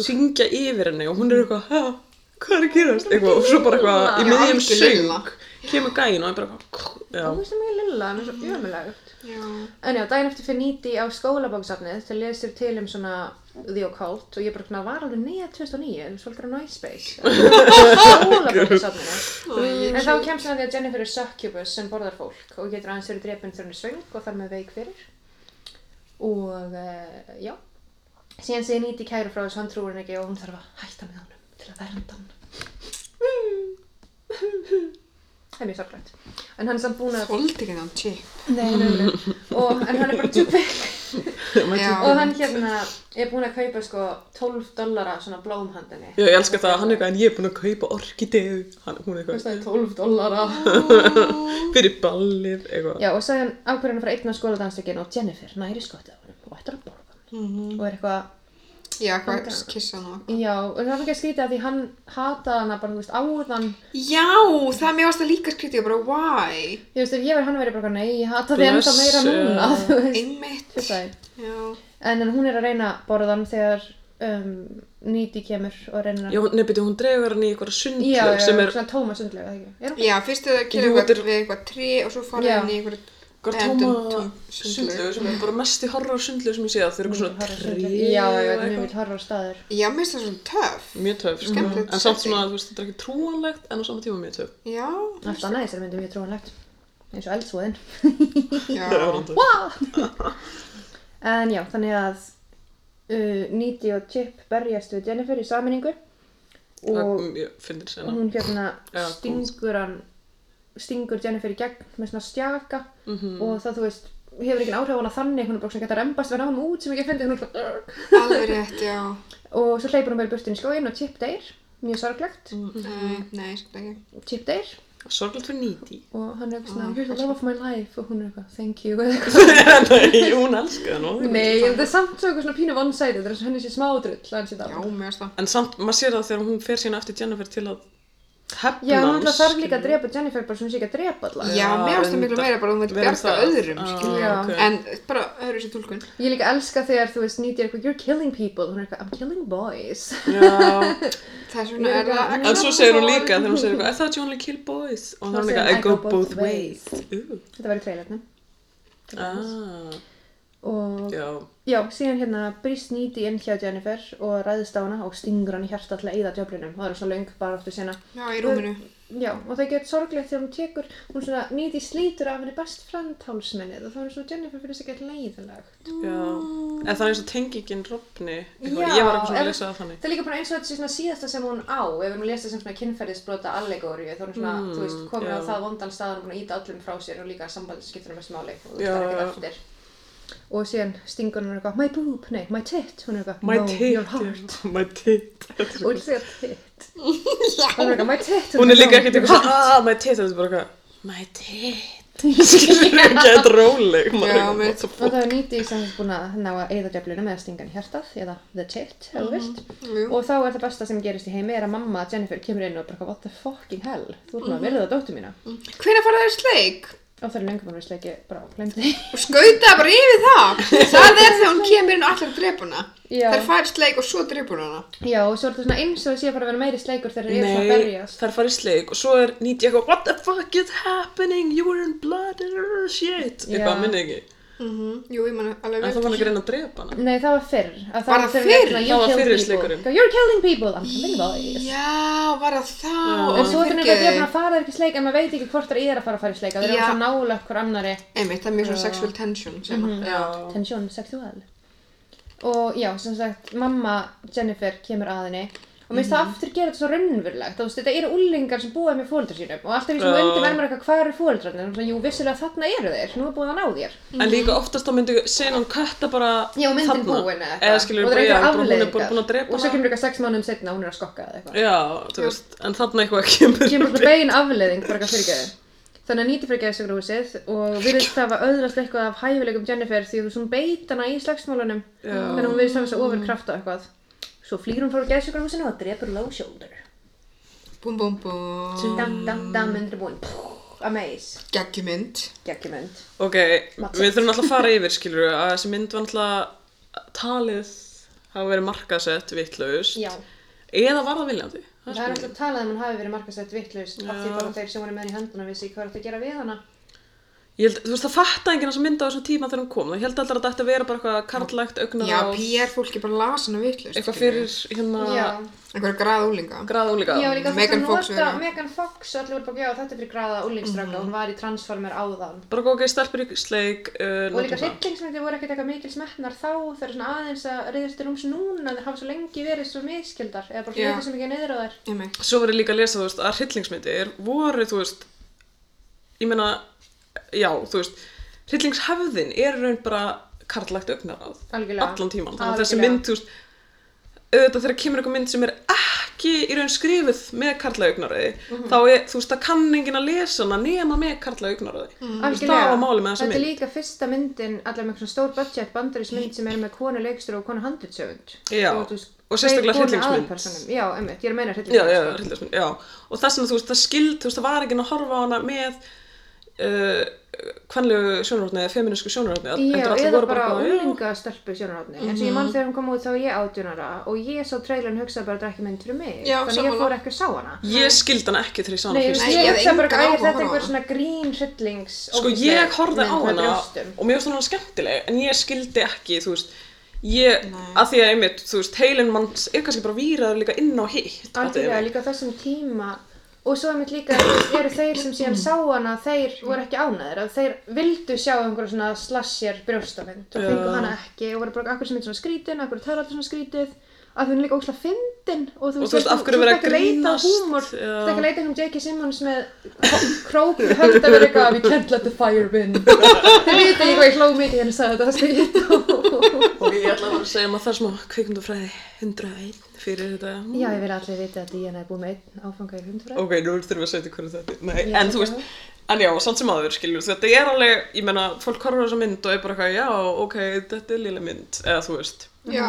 syngja yfir henni og hún er eitthvað, hæ, hvað er að gerast? Eitthvað, og svo bara eitthvað, í
Já,
miðjum
algjör lilla.
söng, kemur gæin og er bara eitthvað, já.
þú veist það mjög lilla, hann er svo ömulegt
Já.
en já, daginn eftir fyrir nýti á skólabóksafnið til að lesa sér til um svona The Occult og ég bara svona var alveg nýja 2009 en svolítið á Nightspace skólabóksafnið
Æ,
en þá kemst hann að því að Jennifer er succubus sem borðar fólk og getur aðeins verið drepin þegar hann er svöng og þar með veik fyrir og uh, já síðan segir nýti kæru frá þessu hann trúir hann ekki og hún þarf að hætta með honum til að vernda hann það er mjög sorglægt en hann er samt búin að
Þóldi ekki þann chip.
Nei, nei, nei. Og, en hann er bara tjúpik
Já.
og hann hérna er búinn að kaupa sko 12 dollara svona blómhandinni
Já, ég elska það, hann er eitthvað, en ég er búin að kaupa orkideu, hann, hún er eitthvað,
kostaði 12 dollara
fyrir ballið, eitthvað.
Já, og sagði hann ákveður hann að fara einn á skóladansleikin og Jennifer næri skotti á hann og ættir að borða hann og er eitthvað,
Já, hvað kissa hann og...
já, og það var ekki að skrýta því hann hataði hana bara, þú veist, áðan
Já, það mér varst að líka skrítið, ég bara, why?
Ég veist, ef ég verið hann verið bara, eitthvað, nei, ég hata því ennþá meira núna, þú veist
Einmitt.
Fussaði.
Já.
En en hún er að reyna að borða hann þegar um, nýti kemur og reynir að
Já, hún- nei, byrju, hún dregur hann í eitthvað
já,
sundlög
já,
sem er
svona tóma sundlega, það ekki? Er hún
Já, fyrst er það að
Jú,
kynna eitthvað
þetta er-
við eitthvað tré og svo fara
Já.
inn í eitthvað...
eitthvað tóma sundlög sem er bara mest í horror sundlög sem ég sé að þau eru eitthvað svona tré
Já, já, þetta
og
er mjög
eitthvað.
mjög horfar staður.
Já, mér finnst það svona töff.
Mjög töf, sko.
Skemmtilegt
En samt
setting.
svona, þú veist, þetta er ekki trúanlegt, en á sama tíma mjög töf.
Já.
Allt annað í þessari myndi er mjög trúanlegt. Eins og eldsvoðinn.
Já.
En já, þannig að uh, Needy og Chip berjast við Jennifer í saminningu og
Ég finnir sena.
hún hérna
Já, góð.
stingur hann, stingur Jennifer í gegn með svona stjaka
Mhm.
og það, þú veist, hefur ekki áhrif á hana þannig, hún er bara svona gett að rembast við hann út sem ekki að fyndi, hún er svona
Alveg rétt, já.
og svo hleypur hún bara í burtinn í skóin og Chip deyr, mjög sorglegt,
Mm.
Nei, nei, sko ekki.
Chip deyr
Sorglega fyrir nýti.
og hann er eitthvað
Ah,
svona, you're the love of my life og hún er eitthvað, thank you, eða eitthvað
Nei, hún elskaði hann og
Nei, en það er samt svo eitthvað svona pínu vonsæti þetta er eins og um. henni sé smádrull að hann sé
Já,
dáin.
mér finnst það.
En samt, maður sér það þegar hún fer sína eftir Jennifer til að hefna
Já, hún
hans,
alltaf þarf líka að
skilur.
drepa Jennifer bara svona sé ekki að drepa allar
Já, mér finnst það miklu
reyndar.
meira bara að hún veit
Meira
bjarga
það.
öðrum,
Ah,
skilja.
Já.
ok.
En bara öðru sér tólkun.
Ég líka elska þegar þú veist nýtir eitthvað You're killing people, hún er eitthvað I'm killing boys
Já,
Þess vegna er það
En svo segir hún líka, þegar hún segir eitthvað, I thought you only kill boys og þá er hún
segir
eitthvað, I go both ways Ú,
Þetta var í trailernu
ah,
Og
Já,
já, síðan hérna brýst nýti inn hjá Jennifer og ræðist á hana og stingur hann í hjarta til að eyða djöflinum og það er svo löng bara áttu sena
Já, í rúminu.
Já, og það getur sorglegt þegar hún tekur hún svona nýti slítur af henni best frantálsmennið og þá er svo Jennifer finnst ekki eitthvað leiðilegt
já En það er eins og tengingin rofni Ég var
Já,
eitthvað svona
ef-
að lesa það þannig
Það er líka bara eins og þetta sé svona síðasta sem hún á ef við erum að lesa sem svona kynferðisbrota allegóri þá er hún svona,
Mm,
þú veist, komin á
já.
það vondan stað hún er búin að íta öllum frá sér og líka sambandsskiptunum mest máli og þú
Já,
veist það er
já.
ekkert eftir og síðan stingur hún eitthvað, my boob, nei, my tit hún er eitthvað,
My
no, your heart
tit, my tit
og hún segir tit hún er eitthvað, my tit
Hún er líka
no,
ekkert
your
eitthvað, ah, my tit Þetta er bara eitthvað, my tit Skilur við ekki eitthvað róleg
Já,
maður.
mitt.
Og það er nýtið sem þess búin að ná að eyða djöflunum eða stingan í hjartað eða the tit, ef þú vilt.
Mm,
Jú.
Og þá er það besta sem gerist í heimi er að mamma Jennifer kemur inn og bara what the fucking hell, þú ert maður að verða dóttu mína.
Hvenær fara þér sleik?
Og það er löngu búin að sleiki bara glemdi.
Og skauta bara yfir það. Það er þegar hún kemur inn og allar drepuna.
Já.
Það er fara sleik og svo drepuna hana.
Já, og svo er þetta svona eins og það sé að fara að vera meiri sleikur þegar það eru svona að
Nei,
berjast.
það er farið sleik og svo er nýtt ég eitthvað What the fuck is happening? You were in blood and uh, shit
Já.
Eitthvað minni ekki
Mhm. Jú, ég man alveg
En
vel.
það var ekki að reyna að drepa hana
Nei, það var fyrr. að
Var það
þegar við erum
fyrr?
svona, "You
Það var
killed
fyrri
people."
sleikurinn.
Go, You're killing people, I'm killing boys.
Já, var það þá.
En svo er
Fyrirgeðu.
þetta nefnilega drefn að fara þér ekki í sleik en maður veit ekki hvort það er að fara að fara í sleik. Það er
Já.
svo nálega hver annari
Einmitt, það er mjög svona sexual tension
Mhm.
sem að.
Já
tension sexual. Og já, sem sagt, mamma Jennifer kemur að henni og mér finnst
Mhm.
það aftur gera þetta svo raunverulegt. Þú veist, þetta eru úlingar sem búa með fóreldrar sínum og alltaf í svona
Já.
undir verður maður eitthvað hvað eru fóreldrarnir? Og svona, jú, vissulega þarna eru þeir, nú er búið að ná þér.
En líka oftast þá myndi senan kötta bara
Já, og myndin
þarna.
búin eða
Eða skilur
og það
við bara,
eru
já,
eitthvað
bara, hún er bara
afleðingar.
búin að drepa
Og svo kemur eitthvað sex mánuðum setna og hún er að skokka eða eitthvað.
Já, þú veist, en þarna eitthvað kemur
kemur svona bein afleðing bara eitthvað fyrirgeði þannig að nýti fyrir geðsugrúsið og virðist hafa öðrast eitthvað af hæfileikum Jennifer því þú svona beit hana í slagsmálunum
Já.
þannig að hún virðist hafa þess að ofurkrafta eitthvað svo flýr hún frá geðsugrúsinu og drepur low shoulder
Búm, búm, búm.
Mm.
dam dam dam undir búin Pff, amaze
Gaggjumynd.
geggjumönd
Ok, við þurfum alltaf að fara yfir, skilur við, að þessi mynd var alltaf talið hafa verið markasett vittlaust.
já
Eða var það viljandi?
það er alltaf talað um hún hafi verið markasett vittlust af því
Já.
bara þeir sem hún er með henni í henduna vissi hvað er að gera við hana
Ég held, þú veist, það fatta enginn þessa mynd á þessum tíma þegar hún kom. Það held alltaf að þetta ætti að vera bara eitthvað karlægt augnar
Já, PR fólki bara las hana vittlust.
eitthvað fyrir hérna
já
Einhverja grað úlinga.
gráðúlíka.
Já, líka
Megan
Megan
Fox
Fox nota,
verið.
Megan Fox, allir voru bara, já, þetta er fyrir graða úlingstranga, hún var í Transformer áðan
Bara ok, stelpur í sleik, uh,
Og líka
látum það.
hryllingsmyndir voru ekkert eitthvað mikil smetnar þá, það er svona aðeins að reyðast til rúms núna, þeir hafa svo lengi verið svo miskildar, eða bara
Já.
hluti sem ekki neyður á þær.
Einmitt.
Svo var ég líka að lesa, þú veist, að hryllingsmyndir voru, þú veist, ég meina, já, þú veist, hryllingshefðin er í raun bara karlægt augnaráð.
Algjörlega.
Allan tíman. Þannig að þessi
Algjörlega.
mynd, þú veist, auðvitað þegar kemur eitthvað mynd sem er ekki í raun skrifuð með karlæga augnaráði,
Mhm.
þá er, þú veist, það kann enginn að lesa hana nema með karlæga augnaráði.
Mhm.
Mm. Þú veist, það var málið með þessa
Þetta er
mynd.
líka fyrsta myndin, allar með svona stór budget bandarísmynd sem er með konu leikstur og konu handritsöfund.
Já, og sérstaklega hryllingsmynd.
Já, einmitt, ég er að meina
já, já,
hryllingsmynd. sko.
hryllingsmynd, já og þess vegna, þú veist, það skild, þú veist, það var ekki að horfa á hana með uh, hvernlegu sjónarhóttni eða feminísku sjónarhóttni
Já, eða bara úlingastelpu sjónarhóttni. En svo ég
Mhm.
mann þegar hún kom út þá var ég átjónara og ég sá trailerin hugsaði bara að þetta er ekki mynd fyrir mig.
Já,
Þannig ég
sammála.
fór ekki að sá hana.
ég skild hana ekki þegar ég sá hana
Nei,
fyrst
ég
Nei, ég hafði
hugsa bara
engan
hvað er
áhuga
þetta
á
einhver
hana.
svona grín hryllings
sko, ég horfði á hana og mér finnst hún hana skemmtileg en ég skildi ekki, þú veist ég, að því að einmitt, þú veist, heilin manns er kannski bara víraður líka inn á hitt
Algjörlega,
fattuðu mig?
líka á þessum tíma og svo einmitt líka þú veist, eru þeir sem síðan
Mm.
sá hana þeir voru ekki ánæðir að þeir vildu sjá einhverja svona slasher brjóstamynd og fengu
Já.
hana ekki og voru bara akkur sem er svona skrítin, akkur tala alltaf svona skrítið að hún er líka ósla fyndin og þú
Og þú veist, af hverju
þú
vera
ert ekki að leita að
grínast,
húmor þú
já.
ert ekki að leita um J.K. Simmons með krók höfð að vera eitthvað we can't let the fire win þeir vita ekki hvað ég hló mikið hérna sagði þetta það skrítið
og ég ætla að segja maður þar smá kvikmyndafræði 101 fyrir þetta
Já, ég vil allir vita að Díana er búin með einn áfanga í hundfræð.
ok, nú þurfum við að setja hverju þetta Nei,
Já,
en þú veist, en já, samt sem aður skiljur þetta er alveg, ég meina, fólk horfður þessa mynd og er bara eitthvað, já, ok, þetta er léleg mynd eða þú veist,
Já.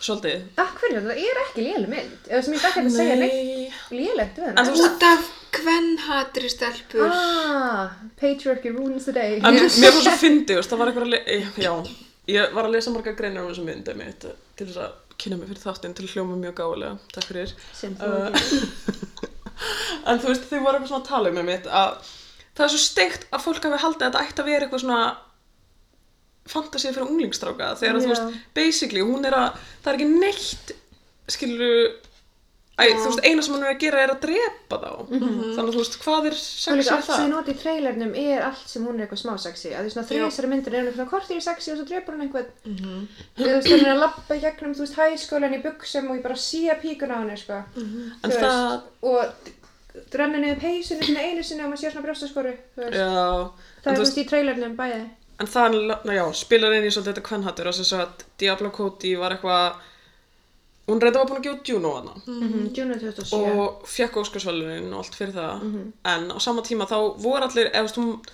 svolítið
Takk fyrir þetta, það er ekki léleg mynd. Eða sem ég ekki að segja neitt lélegt við
En
hana.
þú veist,
Út af kvennhatri stelpur.
Ah, patriarchy ruins the day.
en mér fannst svo fyndi, þú veist, það var eitthvað að le- eh, já, ég var að lesa marga greinar um þessa mynd, einmitt, til þess að kynna mig fyrir þáttinn til að hljóma mjög gálega, takk fyrir
Sem þú
Uh,
ekki.
en þú veist, þau voru eitthvað svona að tala um einmitt að það er svo steikt að fólk hafi haldið að þetta ætti að vera eitthvað svona fantasið fyrir unglingstráka þegar að þú
Já.
veist, basically, hún er að það er ekki neitt, skilur Æ, þú veist, eina sem hún er að gera er að drepa þá
Mhm.
þannig að þú veist, hvað er
Og líka
sexið
allt sem ég
það?
noti í trailernum er allt sem hún er eitthvað smá sexy. Það er svona þrjusari myndir er hún eitthvað kortir í sexy og svo drepur hún einhvern.
Mhm.
Eða þú veist, hún er að labba í gegnum, þú veist, hæskólan í buksum og ég bara sé píkun á henni, sko.
Mhm. En
Þú veist,
það-
Og drönni niður peysunni svona einu sinni og maður sé svona brjóstaskoru, þú veist.
Já,
Það er
en, þú
þú
veist,
veist í trailernum bæði.
en það er la- na, já, spilar inn í svolítið þetta kvennhattur að sem sagt, Diablo Cody var eitthvað hún reynda var búin að gefa út Juno hana
Mm Júna 2007. Mhm.
og fekk Óskarsvalunin og allt fyrir það en á sama tíma þá voru allir eða þú veist, hún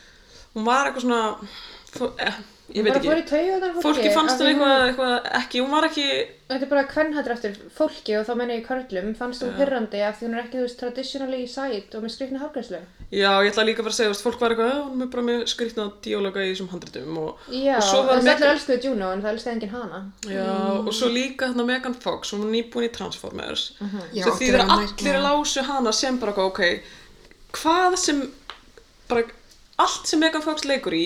hún var eitthvað svona fó, eh, ég veit
bara fór
ekki
í taugunar
fólki fannst hún eitthvað, eitthvað ekki, hún var ekki
Þetta er bara kvennhættur eftir fólki og þá menna ég körlum fannst hún pyrrandi af því hún er ekki, þú veist, traditionally í sæt og með skrifna hárgræslu
já, ég ætla líka bara að segja, þú veist, fólk var eitthvað "Ah, hún er bara með skrýtna díóloga í þessum handritum og,
Já,
og svo
það
var
er allir
Megan
elskuðu Juno en það elskaði enginn hana
já, og svo líka þarna Megan Fox, hún var nýbúin í Transformers
Mhm.
Já,
sem
átti
þýðir
að
að
vera
allir
nær-
lásu hana sem bara ok, hvað sem bara allt sem Megan Fox leikur í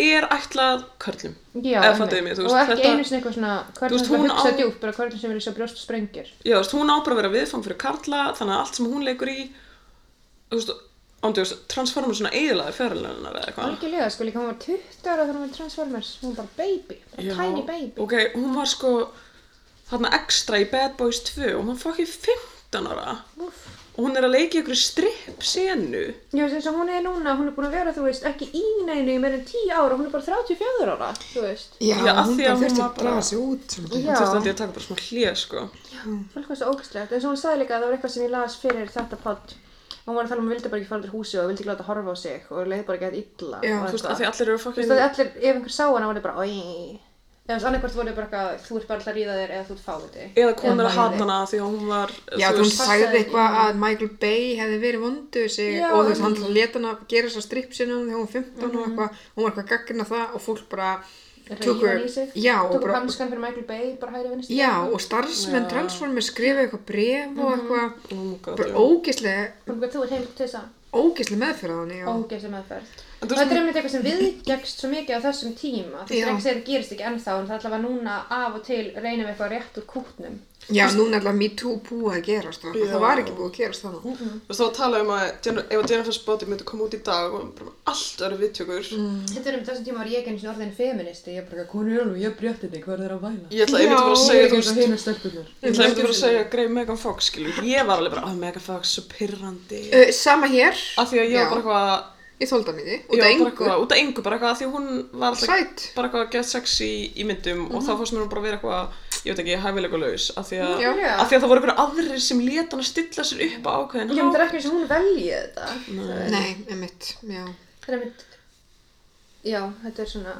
er ætlað körlum
Mhm. Já,
Eða
einmitt.
fattuðu mig, þú veist,
og ekki
þetta-
einu sinni eitthvað svona
Þú
hvernig
veist,
hún
hún
hugsa
á-
djúpt, bara hvernig sem vilja sjá brjóst og sprengir
Já, þú veist, hún á bara að vera viðfang fyrir karla, þannig að allt sem hún leikur í, þú veist, ándi, transformar svona eiginlega fyrirlunar eða eitthvað.
algjörlega, sko líka hún var 20 ára þegar hún var í Transformers, hún var bara baby bara
Já,
tiny baby
Ok, hún var sko þarna ekstra í Bad Boys 2 og hún var fokkið 15 ára
Úff.
og hún er að leika í ykkur stripp senu.
Já, eins og hún er núna, hún er búin að vera, þú veist, ekki í neinu í meira en 10 ára, hún er bara 34 ára, þú veist.
Já,
Já, af
hún
því að hún
bara
Mhm.
þurfti
var
að draga
bara-
sig út svona.
Já.
Hún þurfti aldrei að taka bara smá hlið, sko.
Fólk var svo ógæstlegt, eins og hún sagði líka að það var eitthvað sem ég las fyrir þetta podd. Hún var að tala um að hún vildi bara ekki fara út úr húsi og vildi ekki láta horfa á sig og leiði bara ekki að illa.
Já,
og
Þú veist,
eitthvað.
af því allir eru
Þú
fokkið...
veist, að allir, ef einhver sá hana, voru þeir bara, oi. Eða þú veist, annarkvort voru þeir bara eitthvað, þú ert bara alltaf að ríða þér eða þú ert fáiði.
Eða konur að
Eða
hata hana af því að hún var...
Já,
þú
þú hún
veist,
passaði
sagði
ekki.
eitthvað að Michael Bay hefði verið vondur sig
Já,
og þú veist, hann leta hana gera þess að stripp sinna þegar hún var 15
Mhm.
og eitthvað, hún var eitthvað gaggina það og fólk bara
Ríða hann í sig.
já, og
Tóku
bara,
hanskan fyrir Michael Bay, bara hægri vinstri.
já, og starfsmenn transformir skrifa eitthvað bref og eitthvað,
Oh my god, já.
bara ógislega,
Fólk bara, Þú ert heimil til þess að
ógislega meðferð á henni og
ógæslega meðferð.
En þú
Þetta
veist,
er einmitt eitthvað sem viðgegst svo mikið á þessum tíma þú veist ekki
Já.
að segja að það gerist ekki ennþá en það er allavega núna af og til reynum við eitthvað rétt úr kútnum
já, núna er alltaf me too búið að gerast og
Já.
það var ekki búið að gerast þannig.
Þú veist, þá talaðum um að Jenn- ef að Jennifer's Body myndi koma út í dag og bara með allt öru viðtökur
Þetta er um þessum tíma var ég ekki einu sinni orðin feministi ég er bara, hún er alveg, ég breytti henni, hvað er þeirra að væla?
ég ætla einmitt að vera að segja þú veist,
hérna stelpunar
ég ætla einmitt að vera að segja greið Megan Fox skilur, ég var alveg bara að Megan Fox svo pyrrandi
Uh, sama hér,
af því að ég var bara eitthvað
ég þóldi hann í því,
ég
út af
var bara
engu,
eitthvað- út af engu, bara eitthvað af því að hún var alltaf
sætt.
bara eitthvað að geta sexy í myndum og þá fórst mér hún bara að vera eitthvað ég veit ekki, hæfilega laus af því að,
Já.
af því að það voru eitthvað aðrir sem leta hann að stilla sér upp á ákveðin
Ég myndi ekki eins og hún velji þetta Það
Nei, emitt, já.
er einmitt Já, þetta er svona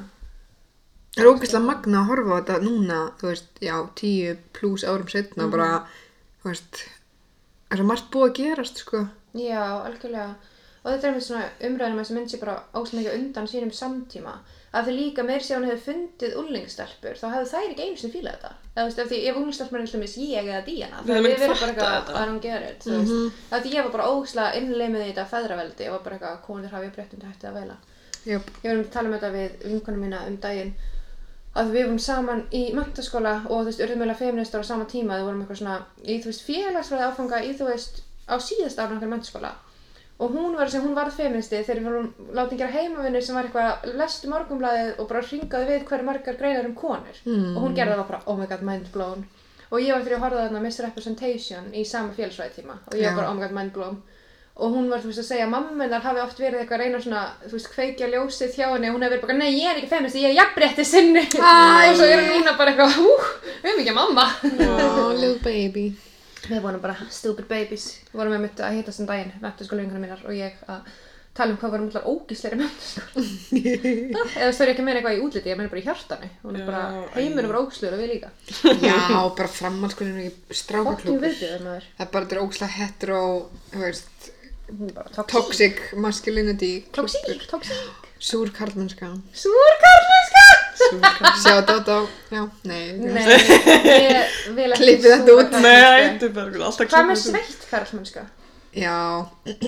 Það er ógeðslega magna að horfa á þetta núna, þú veist, já, tíu pluss árum setna, bara, þú veist, það er svo margt búið að gerast, sko.
Já, algjörlega. Og þetta er með svona umræðinu með þessi mynd sé bara óslega mikið undan sínum samtíma. Af því líka meir sér hún hefði fundið unglingstelpur, þá hefðu þær ekki einu sinni fílað þetta. Eða þú veist, af því ef unglingstelpur er alltaf ég eða Díana, þá
Við hefðum
hefði
ekki
verið bara
fattað
eitthvað
þetta.
að hún gera þetta, þú veist. Af því ég var bara óslega innleimið í þetta feðraveldi og var bara eitthvað að konur hafi breyttund hættið að veila.
Jöp.
Ég var um að tala um þetta við vinkunum mína um daginn að við vorum saman í mentaskóla og þú veist, urðum eiginlega feministar á sama tíma við vorum eitthvað svona, í þú veist, félagsfræði áfanga í þú veist, á síðasta ára okkar mentaskóla og hún var sem hún varð feministi þegar við vorum látið gera heimavinnir sem var eitthvað, lestu morgumblaðið og bara hringaði við hverju margar greinar um konur mm. og hún gerði það bara, oh my god, mind blown og ég var þegar að horfa þarna misrepresentation í sama félagsfræði tíma og ég
Já.
var bara, oh my god, mind blown og hún var þú veist að segja að mammenar hafi oft verið eitthvað að reyna svona, þú veist, kveikja ljósið hjá henni og hún hefur verið bara, nei, ég er ekki feminist, ég er jafnrétti sinni og svo er hún núna bara eitthvað, hú, við erum ekki að mamma
Oh, little baby.
við vorum bara stupid babies við vorum með mitt að hitast um daginn, mættu sko lengur minnar og ég að tala um hvað vorum alltaf ógísleiri mættu sko eða þú stóri ekki að meina eitthvað í útliti, ég meina bara í hjartanu hún er bara,
Já,
heiminum var ógísleir og við líka
já, bara framhalskunum í
fokkin
strákaklúkur.
viðbjöður maður
Það er bara, þetta er ógeðslega hetero, þú veist,
Hún er bara toxic,
toxic masculinity.
toxic, toxic
Súr karlmennska.
súrkarlenska
Sjá þetta á, já, nei. þú veist.
Nei, ég vil ekki
Klippið þetta
súra
út.
karlmennsku.
Nei, þetta er bara eitthvað, alltaf um-
Hvað með
klippið þessu.
sveitt karlmennska?
Já,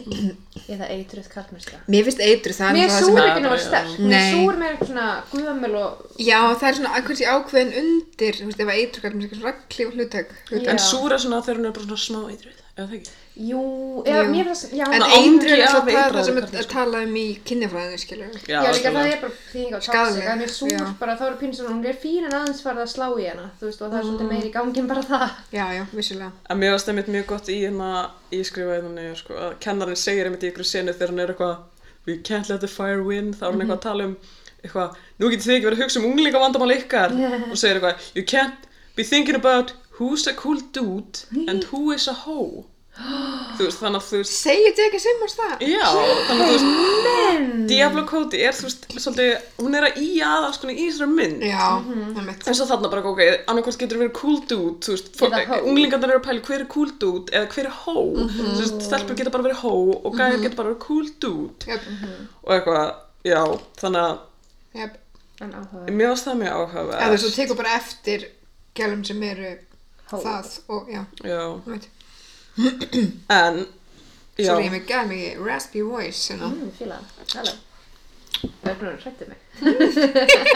Eða eitruð karlmennska?
mér finnst eitru það
Mér er
það
súr
sem-
ekki
Já,
náttúrulega
já.
sterk. Mér er
Nei.
súr meira eitthvað svona guðamöl og...
Já, það er svona aðkvæmst í ákveðin undir, þú veist, ef að eitru karlmennska er svona raglíf hlutök.
Já.
en súra svona þegar hún er bara svona smá eitruð eða það ekki
Jú, eða
Jú.
mér finnst það... Já,
En
já,
Svona
eindur er
angi
alltaf
af
það er
eitraðum
það sem
karlmennsku.
er talað um í kynnefræðinu,
Já,
skilur.
líka
algjörlega.
það er bara þýðing á toxic.
Skaðleg,
En mér er súr
já.
bara, þá eru pínu svona, hún er fín en aðeins farið að slá í hana. Þú veist, og það er
Mm.
svolítið meiri í gangi en bara það.
Já, já, vissulega.
En mér varst einmitt mjög gott í hérna, ég skrifaði hérna niður, sko, að kennarinn segir einmitt í ykkur senu þegar hann er eitthvað We can't let the fire win, þá er hann eitthvað að tala um eitthvað, nú getur þið ekki verið að hugsa um unglinga vandamál ykkar og segir eitthvað, you can't be thinking about who's a cool dude and who is a hoe þú veist, þannig að þú veist
Segir J.K. Simmons það?
já, þannig að þú veist
Mm.
Men!
Diablo Cody er þú veist, svolítið, hún er að í að alls konar í þessari mynd
Já, einmitt.
eins og þarna bara, ok, annarkvæmst getur verið cool dude, þú veist,
Eða
fólk-
hoe.
unglingarnir eru að pæla hver er cool dude eða hver er hó, þú
Mhm.
veist, stelpur getur bara verið hó og gæðir getur bara verið cool dude
Jöp,
og eitthvað, já, þannig að
jöp.
En áhuga.
mér varst það mjög áhuga
Eða þú tekur bara eftir gælum sem eru
Hó.
það og já,
já,
einmitt.
en já,
Sorry, ég er með gæl mikið raspy voice, you know.
Mm, fíla það. Halló. Öfnum hrætti mig.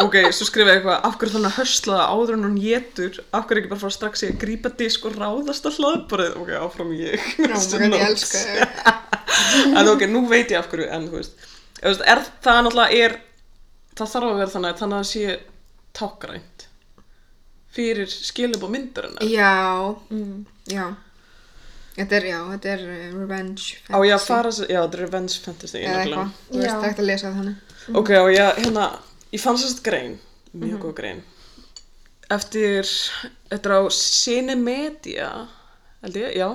ok, svo skrifa ég eitthvað af hverju þannig að hösla það áður en hún getur af hverju ekki bara fara strax í að grípa disk og ráðast að hlaðbarið, ok, áfram ég
Já, maður gæti ég elska þau.
en ok, nú veit ég af hverju en þú veist, þú veist er, það náttúrulega er það þarf að vera þannig að þannig að það sé tákgrænt fyrir skilum og myndarinn
Já, já. Þetta er, já, þetta er uh, revenge
á ég að fara sér, já, The Revenge Fantasy
eða
nefnilega.
eitthvað. Þú veist,
Já.
það er hægt að lesa það þannig.
ok, og ég, hérna, ég fann sérst grein mjög góð grein eftir, þetta er á Cinemedia held ég, já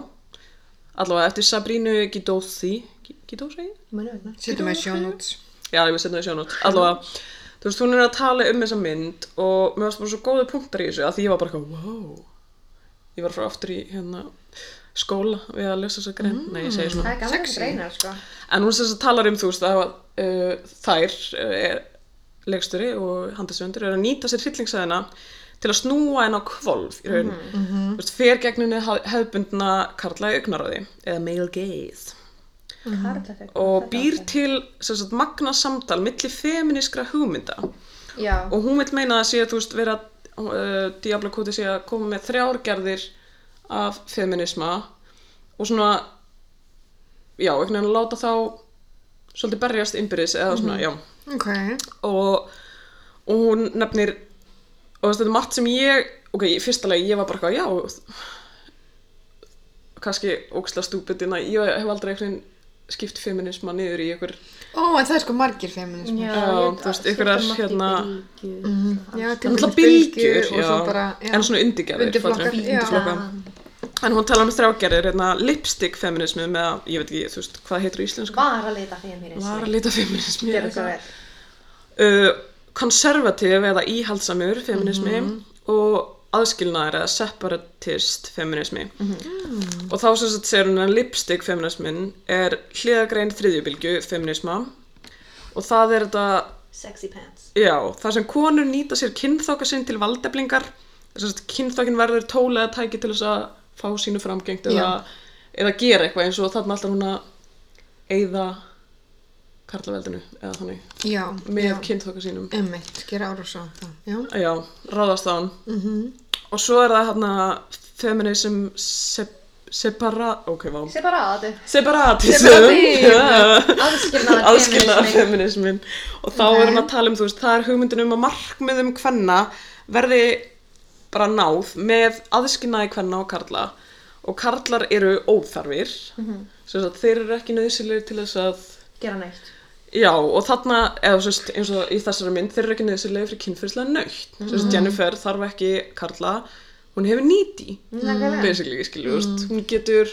allavega eftir Sabrínu Gidóþi Gidóþi?
Mæna vegna.
Settum við sjónúts.
Já, ég vil setja það í sjónut. Allavega, þú veist, hún er að tala um þessa mynd og mér varst bara svo góði punktar í þessu að því ég var bara eitthvað, wow. Ég var frá aftur í hérna skóla við að lesa þessa grein. Nei, ég segi
Það
svona.
er gaman að
Sexy.
greina, sko.
En hún sem þess að talar um, þú veist, að uh, þær uh, er leiksturi og handasöndur er að nýta sér hryllingsæðina til að snúa henn á kvolf í raun. Þú veist, fer gegnunni hefðbundna karlægi augnaráði eða male gaze
Karla þegar.
og býr til sem sagt, magna samtal milli feminískra hugmynda
Já.
og hún vil meina að sé þú veist vera uh, Diablo Cody sé að koma með þrjárgerðir af feminisma og svona já, einhvern veginn að láta þá svolítið berjast innbyrðis eða
Mhm.
svona,
Ok.
já og, og hún nefnir og þú veist, þetta er margt sem ég ok, í fyrsta lagi ég var bara eitthvað, já kannski ókslega stúpitina, ég hef aldrei einhvern veginn skipt feminisma niður í einhver
Ó, en það er sko margir feminism.
Já,
Já,
ég-
þú veist, ykkur er
skipta
hérna-
margt í bylgjur.
Já,
Það er
til
náttúrulega
dæmis
bylgjur,
og svo
já.
bara, já.
en svona undirgerðir
Undirflokkar,
fattarðu?
já.
Undirflokka. en hún talar um þrjágerðir, hérna, lipstick feminismi með, að- ég veit ekki, þú veist, hvað heitir á íslensku
Var að leita fyrir mér eins og
varalita feminismi
Gerðu svo vel.
uh, konservativ eða íhaldsamur feminismi og aðskilnaðar eða separatist feminismi og þá sem sagt segir hún að lipstick feminismin er hliðagrein þriðjubilgju feminisma og það er þetta
Sexy pants.
Já, þar sem konur nýta sér kynþokka sinn til valdeflingar kynþokkin verður tóla eða tæki til þess að fá sínu framgengt eða, eða gera eitthvað eins og þarna alltaf hún að eyða karlaveldinu eða þannig
Já,
með
já.
kynþokka sínum
Einmitt, gera árás á það. Já.
Já, ráðast á hann
Mhm.
-hmm. og svo er það hérna feminism se separa ok, vá
Separatu.
separatism
Separatism.
Aðskilnaðar
aðskilnaða
feminismi.
feminismin og þá er hann að tala um, þú veist, það er hugmyndin um að markmiðum hvenna verði bara náð með aðskilnaði hvenna og karla og karlar eru óþarfir mm
Mhm.
að þeir eru ekki nöðsilegir til þess að
Gera neitt.
Já, og þarna, eða þú veist, eins og í þessari mynd, þeir eru ekki nöðsilega fyrir kynfyrslega nöytt. Þú
Mhm.
veist, Jennifer þarf ekki karla, hún hefur nýti,
Nákvæmlega.
basically, skilju, þú veist, hún getur,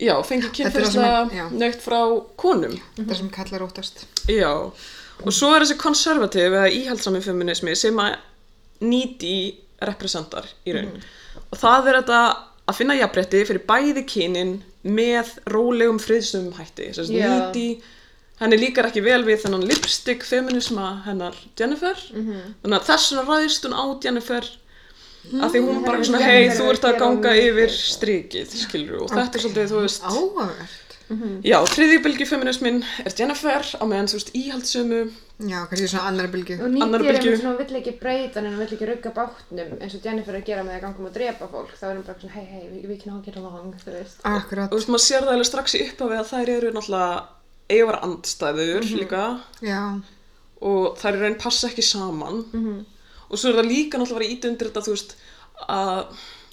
já, fengið
Mhm. er það sem- já.
kynfyrslega nöytt frá konum.
Það sem kallar óttast.
Já, og svo er þessi konservativ eða íhaldsami feminismi sem að nýti representar í raun.
Mhm.
Og það er þetta að finna jafnrétti fyrir bæði kynin með rólegum friðsum hætti. Þess að
Já.
nýti, henni líkar ekki vel við þennan lipstick feminisma hennar Jennifer.
Mhm.
Þannig að þess vegna ræðist hún á Jennifer að því hún bara
Henni
svona,
finnst Mhm.
hei,
Jennifer
þú ert
gera
að ganga
mikið."
yfir strikið, skilur og þetta er svolítið, þú veist,
Áhugavert.
já, þriðjubylgjufeminismin er Jennifer á meðan, þú veist, íhaldsömu
Já, kannski svona annar bylgu.
Og nýttir
Annar
er
bylgju.
einmitt svona, hún vill ekki breyta en hún vill ekki rugga bátnum eins og Jennifer er að gera með að ganga um að drepa fólk þá er hún bara svona, hei, hei, we, we can all get along, þú veist.
Akkurat.
þú veist, maður sér það alveg strax í upphafi að þær eru náttúrulega eiga að vera andstæður líka
Já.
og þær í raun passa ekki saman
Mhm.
og svo er það líka náttúrulega verið ítundir þetta, þú veist, að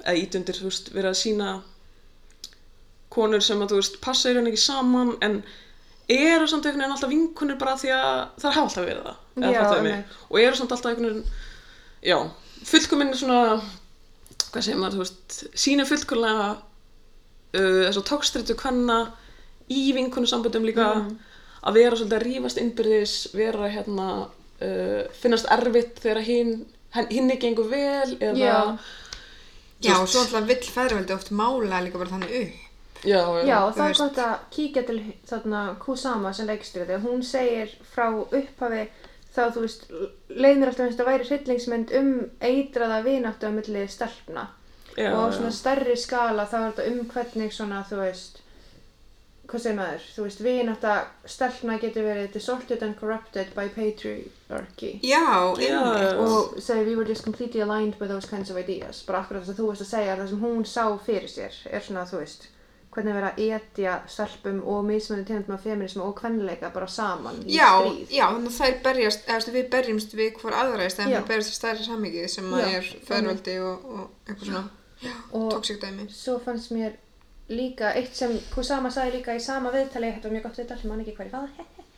eða ítundir, þú veist, verið að sína konur sem að, þú veist, passa í raun ekki saman en eru samt einhvern veginn alltaf vinkunir bara því að þær hafa alltaf verið það eða
Já,
fattaðu mig.
einmitt.
og eru samt alltaf einhvern veginn já, fullkominn svona hvað segir maður, þú veist, sína fullkomlega uh, þess að tókstritu kvenna í vinkunusamböndum líka
Mm.
að vera svolítið að rífast innbyrðis vera hérna uh, finnast erfitt þegar hinn hinn ekki engu vel eða
Já.
Já, og svo alltaf vill feðraveldi oft mála líka bara þannig upp.
já,
Já, og það
Þú
er
veist.
gott að kíkja til þarna Kusama sem leikstýrði þegar hún segir frá upphafi þá þú veist, leið mér alltaf eins og það væri hryllingsmynd um eitraða vináttu á milli stelpna
já,
og á
já.
svona stærri skala þá er þetta um hvernig svona þú veist hvað segir maður, þú veist, vinátta stelpna getur verið disordered and corrupted by patriarchy
Já.
Já, einmitt.
og segir we were just completely aligned with those kinds of ideas bara akkurat þess að þú veist að segja það sem hún sá fyrir sér er svona þú veist hvernig verið að etja stelpum og mismunandi tegundum af feminismu og kvenleika bara saman í
Já,
stríð
já, þannig að þær berjast, eða þú veist, við berjumst við hvor aðra í stæðan
Já.
fyrir að berjast í stærri samvikið sem að
Já,
er feðraveldi og, og eitthvað svona
og
tóksík dæmi.
svo fannst mér líka eitt sem Kusama sagði líka í sama viðtali þetta var mjög gott viðtal, ég man ekki hverju það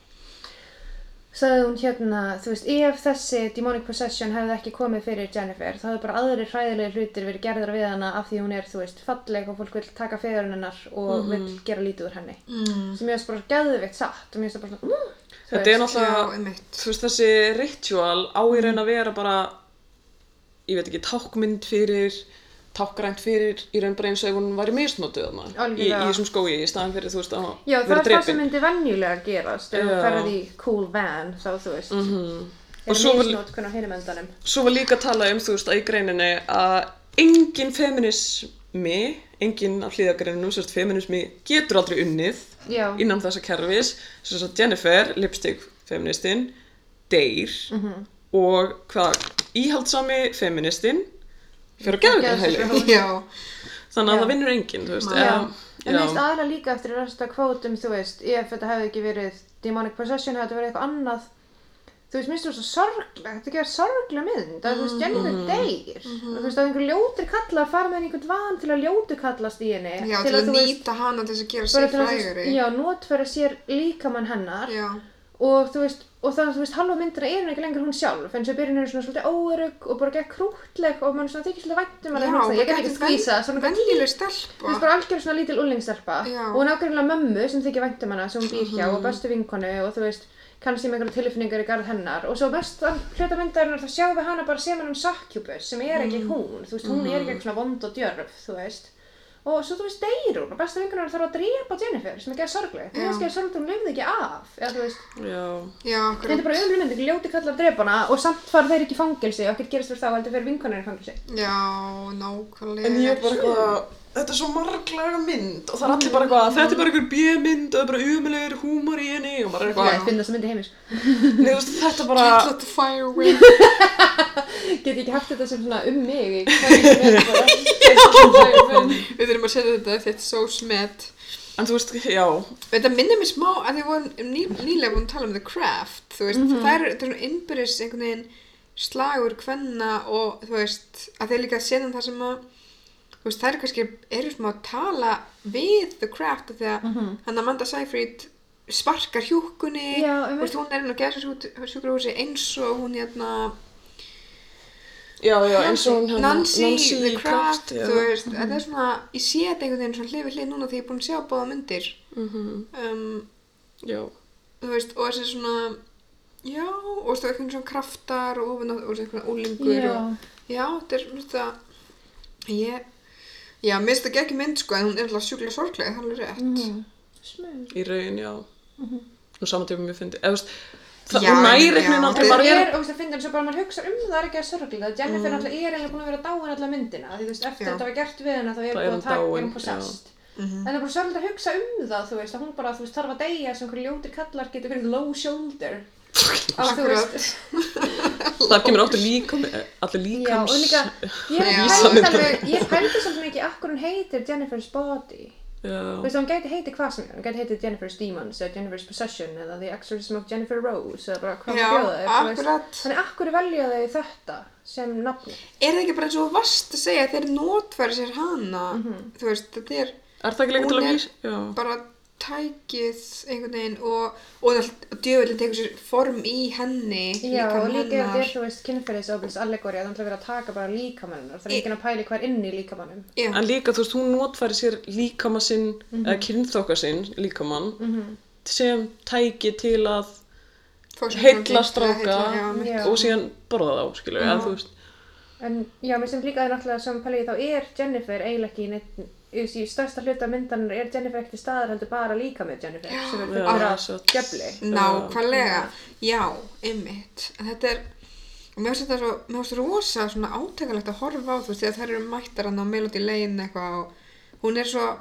sagði hún hérna þú veist, ef þessi demonic possession hefði ekki komið fyrir Jennifer þá hefði bara aðrir hræðilegir hlutir verið gerðar við hana af því hún er, þú veist, falleg og fólk vil taka feðurinn hennar og vil gera lítið úr henni
Mm.
sem ég veist bara geðveikt satt og mér veist bara svona mm, þú
þetta er
veist.
Já,
náttúrulega
einmitt.
þú veist þessi ritual á í
Mm.
raun að vera bara ég veit ekki, tákmynd fyrir tákgrænt fyrir í raun bara eins og ef hún var í misnotuð þarna, í, í
Algjörlega.
þessum skói í staðan fyrir þú veist að
Já, það
vera
er það sem
drepin
myndi venjulega gerast ef þú
Já. Mhm.
ferð í cool van þá þú veist mm -hmm.
Og svo-
á hinum endanum
svo var líka að tala um þú veist að í greininni að engin feminismi engin af hlýðagreinunum sem sagt feminismi getur aldrei unnið
Já,
innan þessa kerfis sem sagt Jennifer, lipstick feministin deyr
Mhm.
og hvað, íhaldsami feministin fyrir að geða
Geðveikur
heili
heili.
Já,
þannig að
Já.
það vinnur enginn þú veist
Nei.
eða-
Já, en mér finnst aðra líka eftir resta kvótum, þú veist, ef þetta hefði ekki verið demonic possession, hefði þetta verið eitthvað annað þú veist, minnst þú svo sorglega þetta gerði sorglega mynd, að þú veist, Jennifer
Mhm.
deyr, og þú veist, að einhver ljótur kallar fara með henni í einhvern van til að ljótur kallast í henni,
já, til að nýta hana til þess að gera
bara
sig
til að, þú
frægari.
veist, já, notfæra sér líkamann hennar
já.
og þú veist, og þannig, þú veist, halva myndina er hún ekki lengur hún sjálf, eins og í byrjun er hún svona svolítið óörug og bara gekk krútleg og mann svona þykir svolítið vænt um hana,
Já,
hún svona, ég get ekki skvísa, svona eitthvað
vennileg
Þú
stelpa.
veist bara algjörlega svona lítil unlingstelpa
Já. Mhm.
og hún ákveðinlega mömmu sem þykir vænt um hana sem hún býr hjá og bestu vinkonu og þú veist kannski með einhverja tilfinningar í garð hennar og svo mest að hluta myndarinnar þá sjáum við hana bara sem hann um sokkjúbus sem er
Mhm.
ekki hún þú veist hún er ekki eitthvað svona vond og djörf þú veist og svo þú veist deyr hún og bestu vinkonar þarf að drepa Jennifer sem er geða sorgleg þú
Já.
veist geða sorgleg hún lifði ekki af eða þú veist
já,
Já,
þetta er
akkurat.
bara umlumynd ekki ljóti kallar að drepa hana og samt fara þeir ekki í fangelsi og ekkert gerist fyrir þá heldur fyrir vinkonarinn í fangelsi
Já, nákvæmlega.
en ég er bara eitthvað þetta er svo marglaga mynd og það er allir bara
Mhm.
eitthvað þetta er bara einhver bjömynd og það er bara umulegur húmor í henni og maður
Já,
er eitthvað
ég finn þessa mynd í heimis.
Nei, þú veist, þetta
Can't
bara
let the fire win.
Get ég ekki haft þetta sem svona um mig í hverju sem er bara-
Við þurfum að setja þetta þetta er so smet.
en þú veist, já,
Þetta minnir mér smá að þið vorum ný, nýlega búin að tala um The Craft, þú veist,
Mhm.
það er, það er svona innbyrðis einhvern veginn slagur hvenna og þú veist, að þeir líka setja um það sem að, þú veist, það er kannski, eru smá að tala við The Craft af því
Mhm.
að
Mhm.
mm -hmm. hann Amanda Seyfried sparkar hjúkunni,
Já,
þú
einmitt.
veist, hún er inn á gæðsjúkrahúsi eins og hún hérna,
já, já eins og hún hérna-
Nancy, The Craft,
já.
þú veist, þetta
Mm.
er svona, ég sé þetta einhvern veginn svona hlifi hlið núna því ég er búin að sjá báða myndir, um,
Mhm, já,
þú veist, og þessi svona já, og þessi eitthvað svona kraftar og ofin og þessi eitthvað úlingur
Já.
og, já, þetta er þetta ég, já, mér finnst þetta ekki mynd sko, en hún er alltaf sjúklega sorglega, það er alveg rétt
Mhm. Smug.
í raun, já og saman tíma mér fyndi, eða þú veist það
Mhm. Já,
hún næri
já.
einhvern veginn aldrei
Þetta
Það
bara
er, og það finnir svo bara maður hugsa um það er ekki að sorglega Jennifer mm. alltaf er eiginlega búin að vera dáin alltaf myndina því þú veist, eftir
Já.
þetta var gert við hennar þá er
Þá er
búin
hún
að taka
dáin,
um possessed
Mhm.
en það er bara sorglega að hugsa um það þú veist, að hún bara, þú veist, þarf að deyja sem hverju ljótir kallar getur verið low shoulder að þú
Akkurat.
veist
það kemur áttu líkam allir
já, og
líkams
líka, ég
Já.
pældi alveg ég pældi svolítið mikið akkur hún heitir Jennifer's body Þú
já,
veist, hún gæti heitið hvað sem er, hún gæti heitið Jennifer's Demons eða Jennifer's Possession eða The Exorcism of Jennifer Rose eða bara hvað
Já,
maður bjóða þér, þú veist.
akkurat.
Þannig akkur velja þau þetta sem nafni?
er það ekki bara eins og vast að
Mhm.
segja að þeir notfæri sér hana þú veist, þetta er
er það ekki lengur til
Hún
að
er-
vísa já,
bara tækið einhvern veginn og, og djöfullin tekur sér form í henni
Já, og
líkama
líka ef þetta
hennar.
er, þú veist, kynferðisofbils allegóri að það er verið að taka bara líkamannum það er
Í-
enginn að pæli hvað er inn í líkamannum
Já,
En líka, þú veist, hún notfæri sér líkama sinn,
Mhm.
eða kynþokka sinn, líkamann, sem tæki til að
fá sér
heilla
framgengt,
stráka
heilla, já, mitt.
Já.
og síðan borða þá, skilur við, þú veist.
en já, mér sem líka er náttúrulega sem pæli þá er Jennifer eiginlega ekki í neitt, í í stærsta hluta myndanir er Jennifer ekkert í staðar heldur bara líka með Jennifer sem er
já,
fyrir
svo-
að gefli
Nákvæmlega, já, einmitt En þetta er, og mér finnst þetta svo mér finnst rosa svona átekalegt að horfa á þú veist, þegar þær eru mættar hann á Melody Lane eitthvað og hún er svo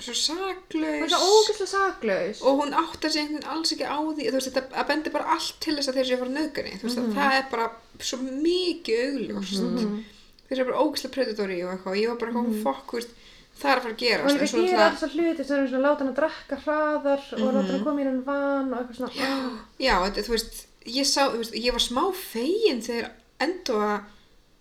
svo
hún er
saklaus
svo ógeðslega saklaus
og hún áttar sig einhvern veginn alls ekki á því þú veist, þetta að bendi bara allt til þess að þeir séu frá nöðgunni, þú veist, að það er bara svo mikið augljóst þeir eru bara ógæslega predatóri og eitthvað og ég var bara eitthvað mm fokk, þú veist, það er að fara að gera
og líka gera alls að hluti sem er svona láta hann að drakka hraðar og láta hann að koma í hann van og eitthvað svona
Mhm. Já, þetta, þú veist, ég sá, þú veist, ég var smá fegin þegar enda að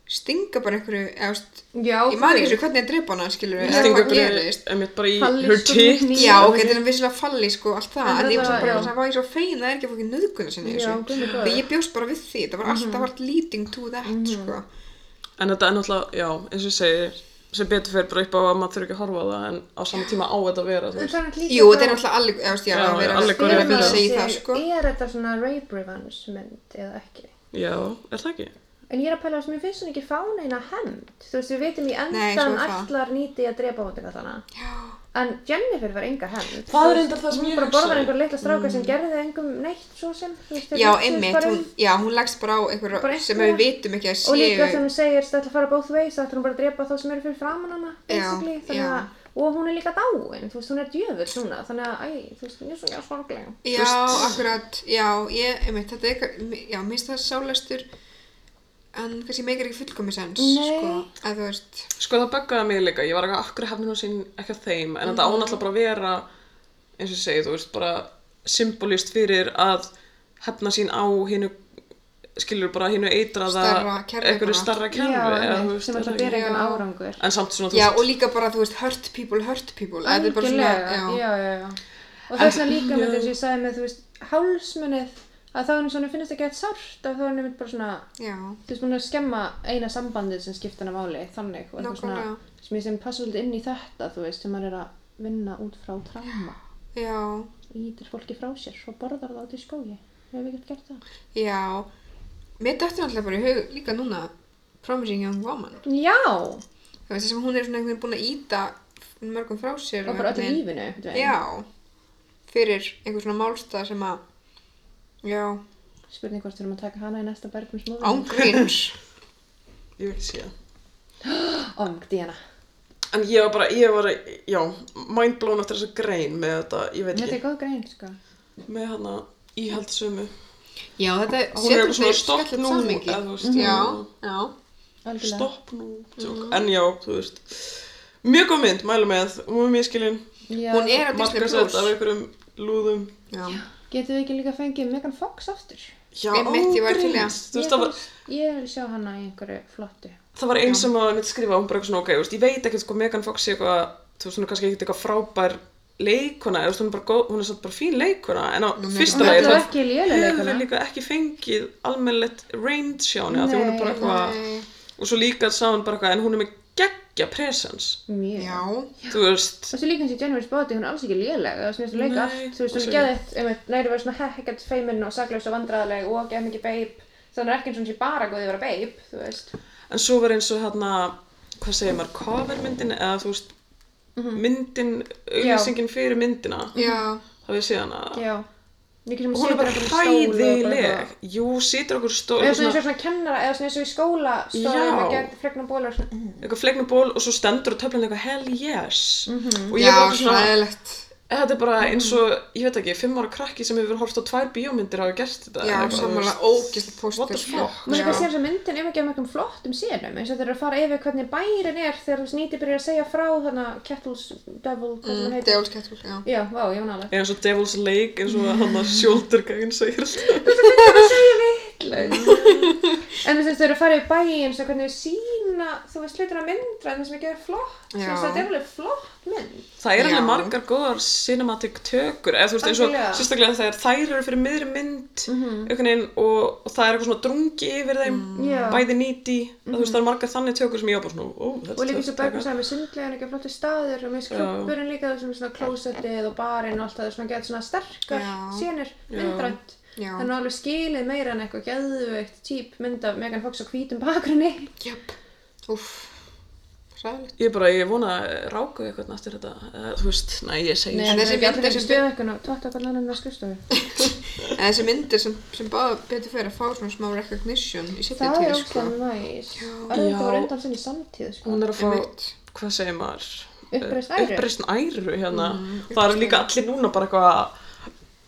stinga bara einhverju, eða, þú veist,
já,
ég man ekki svo hvernig ég drepa hana, skilur við,
Já,
Stingur
það
bara,
gerist.
einmitt bara í
Fallist
her
og
tits.
ný-
Já, ok, þetta er vissilega falli, sko, allt það,
En
en ég var
þetta-
svo bara,
já.
það var ég svo fegin að það er ekki að fókið nöðguna sinni, í
Já,
þessu.
guð minn góður. Mhm.
Þegar ég bjóst bara við því, það var alltaf allt leading to that, sko.
En þetta er náttúrulega, já, eins og ég segi, sem betur fyrir bara upp á að maður þurfi ekki að horfa á það, en á sama tíma á þetta að vera, þú
En
veist.
það er líka
Jú, þetta er
bara-
náttúrulega allir, eða, þú veist, já,
Já,
að vera að
allegóri
vera að
fyrir
vísa í
Sig,
það, sko.
er þetta svona rape revenge mynd eða ekki
Já, er það ekki?
en ég er að pæla þess að mér finnst hún ekki fá neina hemmt þú veist við veitum í
Nei, svo
endan
er það.
ætlar nýti að drepa hóndina þannig
Já,
en Jennifer var enga hemmt
Það er reyndar það sem ég
hún bara borðar
hugsaði.
einhver litla stráka sem gerði engum neitt svo sem þú veist, þeir
Mm. já,
hugsuðu
einmitt,
bara um-
hún, já, hún leggst bara á
Bara
einhverja sem
einhverja.
við vitum ekki að séu.
og líka þegar hún segir að ætla að fara both ways þá ætlar hún bara að drepa þá sem eru fyrir framan hana
Já,
basically, þannig
já.
að og hún er líka dáin, þú veist, hún er djöfur svona þannig að, æ, þú veist, hún er svona sorglega
Já, akkurat, já, ég, einmitt, þetta er eitthvað, já, minnst það sálestur, en kannski meikir ekki fullkomis sens,
Nei.
sko, að þú veist,
Sko það böggaði mig líka, ég var eitthvað akkur hefnir hún sín ekki að þeim, en þetta án alltaf bara að vera, eins og ég segi, þú veist, bara symbolist fyrir að hefna sín á hinnu, skilur bara hinnu eitraða,
Stærra kerfi
einhverju
bara.
starra kerfi,
já,
eða
einmitt,
þú veist,
sem
er
ætla
það
að bera
ekki?
Já.
engan árangur
En samt svona, þú
já,
veist,
og líka bara, þú veist, hurt people, hurt people, að þetta er bara svona,
Algjörlega,
já,
já, já, já. Og þess vegna líka með
já.
þess að ég sagði með, þú veist, hálsmunið, að þá henni svona finnst ekki eitt sárt, að þá henni mynd bara svona,
já,
þú veist, hún er að skemma eina sambandið sem skipta hana máli, þannig, og eitthvað svona,
Nákvæmlega.
sem ég sem passa svolítið inn í þetta, þú veist, sem maður er að vinna út frá tráma,
já,
ítir fólki frá sér, svo borðar það út í skógi, hefur við ekkert gert það?
já, mér dættur alltaf bara í hug líka núna, Promising Young Woman,
Já,
þú veist, þessum hún er svona einhvern veginn búin að íta mörgum frá sér,
og bara öllu
einhvern
lífinu, einhvern
veginn-
veginn.
já, fyrir einhver svona málstað sem að, já,
Spurning hvort við erum að taka hana í næsta bergmannsmóðin.
ángríns,
ég vil ekki sé það.
Áng, Díana.
En ég var bara, ég var, já, mindblown eftir þessa grein með þetta, ég veit
Þetta
ekki,
er góð grein, sko.
með hana íhaldsömu.
já,
Hún
þetta
er
setur
eitthvað svona
þetta í
stopp
skemmtilegt
nú,
samhengi.
eða þú veist,
Já, já.
Algjörlega.
stopp nú, tjók.
Mhm.
En já, þú veist, mjög góð mynd, mælu með, hún er mjög skilin,
Já.
Hún er á Disney
markasett
Plus.
af einhverjum lúðum.
Já.
Getum við ekki líka fengið Megan Fox aftur?
Já,
Einmitt, ég var til í
ógreins.
það.
Þú
Ég,
veist, það var,
finnst- ég vil sjá hana í einhverju flottu.
það var eins sem að mitt skrifa, hún bara eitthvað svona, ok, þú veist, ég veit ekkert sko Megan Fox sé eitthvað, þú veist, hún er kannski ekkert eitthvað frábær leikona, eða þú veist, hún er bara góð, hún er samt bara fín leikona, en á
Nú, Megan
fyrsta
Fox-
lagi
Hún er ekki léleg
hefur
leikona.
við líka ekki fengið almennlegt range hjá henni, af því hún er
Nei,
bara eitthvað,
Nei.
og svo líka sá hún bara eitthvað, en hún er með geggja presens,
Mjög.
Já.
þú veist,
Og svo líka eins og Jennifer Spotty, hún er alls ekki léleg. Það sem ég leika
Nei,
allt, þú veist, hún
alls
er
ekki.
geðið, einmitt, næri verið svona hekkert feiminn og saklaus og vandræðaleg og geð mikið beib. Þannig að hún er ekki eins og hún sé bara góðið að vera beib, þú veist.
en svo var eins og hérna, hvað segir maður, covermyndin, eða þú veist, myndin, auðlýsingin fyrir myndina,
Já,
hafið þið séð hana,
Já. Mikið sem
hún er bara
einhverjum
hræðileg jú, situr okkur stól
Eða
og
svona eins
svona,
og svona kennara, eða svona eins og í skóla
Já.
stóðum við gegn freknum bólur svona. mm.
eitthvað flegnum ból og svo stendur og töflinn eitthvað hell yes og ég
já,
er bara svona,
slæðilegt.
þetta er
Mm.
bara eins og ég veit ekki, fimm ára krakki sem hefur horft á tvær bíómyndir hafa gert þetta eða
Já,
eitthvað, þú
samanlega
veist.
ógæslega
What the
póstur. sko.
fuck?
Mér
Já.
finnst að sér þess að myndin er ekki að mörgum flottum sérum eins og þeir eru að fara yfir hvernig bærin er þegar þú snýti byrjar að segja frá þannig að Kettles Devil, hvað sem
Mm,
það heitir
Devil's Kettle, já.
Já, vá, ég var nálega
Eða eins og Devil's Lake eins og
Mm.
hann að sjóldergægin segir alltaf
Það segja vitlaust En þú veist þeir eru að fara yfir bæin svo hvernig þau sína finna, þú veist, hlutina myndra en það sem ekki er flott, þú
Já.
veist, þetta er alveg flott mynd.
Það er
Já.
alveg margar góðar cinematic tökur, eða þú veist eins og
Algjörlega.
sérstaklega þegar þær eru fyrir miðri mynd
Mhm. Mm.
einhvern veginn og, og það er eitthvað svona drungi yfir þeim,
Já.
bæði nýti, þú veist það eru margar þannig tökur sem ég á bara svona, ó, þetta
Mhm. Og líka eins og Bergur
þetta-
sagði með sundlegan ekki flottir staður og með klubburinn líka þessum svona klósettið og barinn og allt það sem að geta svona sterkar
Já.
sénir,
Já.
myndrænt.
Já.
Þannig alveg skilið meira en eitthvað geðveikt típ mynd af Megan Fox á hvítum bakgrunni.
Jöp. Úff. Ræðilegt.
Ég bara, ég vona að ráku eitthvað eftir þetta, eða, þú veist, næ, ég segi
Nei,
En
en
þessi
þessi
mynd er
myndir
sem-
sem stöðu eitthvað og tótt okkur annan að skrifstofu.
En þessi myndir sem, sem báða betur fyrir að fá svona smá recognition í sitt
Það er
tíð, sko.
óslega næs.
Já.
Örðum
Já.
þetta voru undan sinni samtíð, sko.
Hún er að fá,
Einmitt.
hvað segir maður? Eh,
Uppreist æru.
Uppreisn æru, hérna. það
Mm, uppreisn
eru líka allir núna bara eitthvað,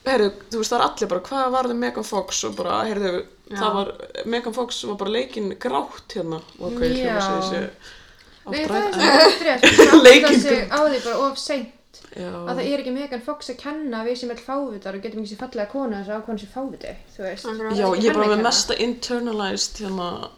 heyrðu, þú veist, það eru allir bara, hvað var þið Megan Fox og bara, heyrðu, það var, Megan Fox var bara leikinn grátt hérna. Og hvað ég hljóma að
Já.
segja
Nei,
þessi
það er svona hundrið að átta
Leikinn.
sig á því bara of seint að það
áttræð.
er ekki Megan Fox að kenna að við sem er fávitar og getum ekki sér fallega konu þess að ákvæmst sér fáviti, þú veist.
Akkurat.
Já, ég er bara með
Kvenleikana.
mesta internalized, hérna,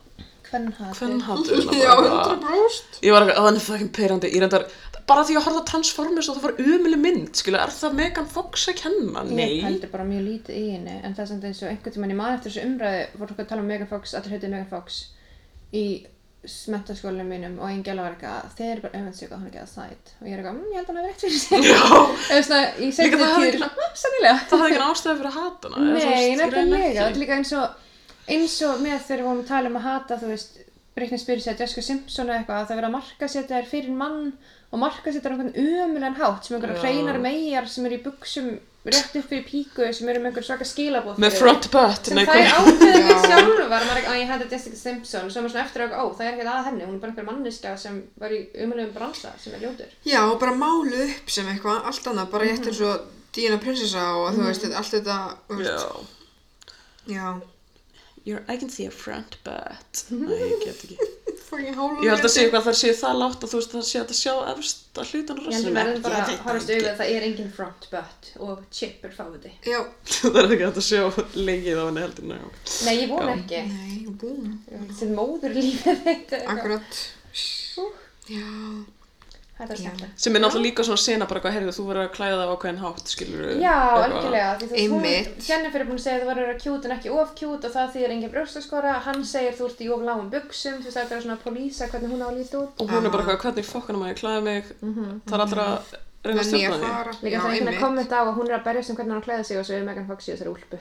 Kvennhatur.
kvennhattu.
Já, 100%.
Ég var eitthvað, "Ó, hann er fucking peirandi, ég reyndar, bara því ég horfði á Transformers og það var umulig mynd, skilja, er það Megan Fox að kenna?
Ég
Nei.
heldur bara mjög lítið í henni, en það er samt eins og einhvern tímann ég man eftir þessu umræði voru okkur að tala um Megan Fox, allir heitið Megan Fox í smentaskólinum mínum og einn gæla var eitthvað að þeir eru bara öfnvöldsvík og hann er ekki að sæt og ég er eitthvað, mmm, ég held hann að vera rétt fyrir sig
Já.
eða svona, ég segi
Líka það
þetta
hafði
tíður
ekki-
svona, mmm, sannilega
það hafði ekki ástæði fyrir að hata hana eða þú
Nei,
veist, í rauninni
nefnilega,
ekki.
þetta er líka eins og eins og með þegar við vorum að tala um að hata, þú veist Britney Spears eða Jessica Simpson eða eitthvað að það vera að markasetja þær fyrir mann og markasetja þær á einhvern umulegan hátt sem einhverja
Já.
hreinar megar sem eru í buxum rétt upp fyrir píku sem eru með einhver svaka skilabóð
með front butt
sem
nei,
það er
hvað-
ákveðið
Já.
við sjálfar maður er ekki að ég hætti Jessica Simpson svo er maður svona eftir að, ó, það er ekkert að henni hún er bara einhver manniska sem var í umulegum bransa sem er ljótur
Já, og bara máluð upp sem eitthvað allt annað, bara rétt eins og Díana prinsessa og þú veist, allt þetta, þú veist,
Já.
já.
You're- I can see a front butt nei, ég get ekki
Fucking hálfur.
ég held að sé eitthvað að það sé það látt að þú veist það sé hægt að sjá efst að hlutan og
ég held
rassinn.
að verðum bara
Ég
að
veit
horfast
ekki.
auðvitað það er engin front butt og chip er fáiði
Já,
það er ekki hægt að sjá lengið á henni heldur ná.
nei, ég vona ekki
nei, búin,
Mhm. sem móður líka þetta er eitthvað-
akkurat. Já,
þetta er
Já.
skemmtilegt
sem er náttúrulega líka svona sena bara hvað heyrðu þú verður að klæða það á hvern hátt skilur
Já, algjörlega, því þú veist,
Einmitt.
hún, Jennifer er búin að segja að þú verður að vera cute en ekki of cute og það þýðir engin brjóstaskora, hann segir þú ert í of lágum buxum, þú veist það er bara svona að polísa hvernig hún á að líta út.
og hún er bara eitthvað hvernig fokkanum að ég klæða mig
Mhm.
það er allra að reyna að
menn ég
stjórna
að
því
fara.
Líka
Já,
það er einhvern að
einmitt.
kommenta á að hún er að berjast um hvernig hann klæði sig og svo er Megan Fox í þessari úlpu.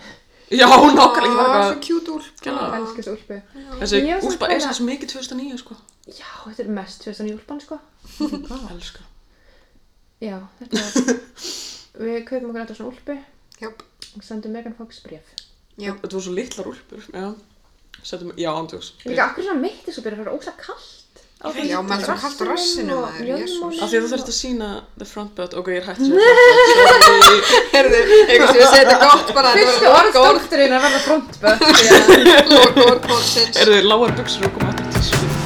já, nákvæmlega, ég var
Á,
bara
svo kjút úlpa.
Gæla.
Elskast úlpu.
þessi
Ég var svona
úlpa er
komin að-
svo mikið 2009 sko
Já, þetta er mest 2009 úlpan, sko.
elska
Já, þetta er... Við kaupum okkur alltaf svona úlpu
Jáp,
og sendum Megan Fox bréf.
já.
Þetta voru svo litlar úlpur, já. Settum, já, andjóks.
Líka, akkur svona mitt er svo byrjar að vera óslega kallt. á
Ég veit
þessu
það.
maður er svo kallt á
rassinum
rassinum,
og
maður,
mjöðmunum
jesús.
Af því að þú þurft að sína the front butt, ok, ég er hægt sér.
Herðu, eitthvað sem ég segi þetta gott bara,
Fyrstu
þetta var
orðstokturinn að verða frontbökk.
orðgóð, orðgóð, orðgóðsins.
Eru þið lágar buksur og koma aftur til þessu?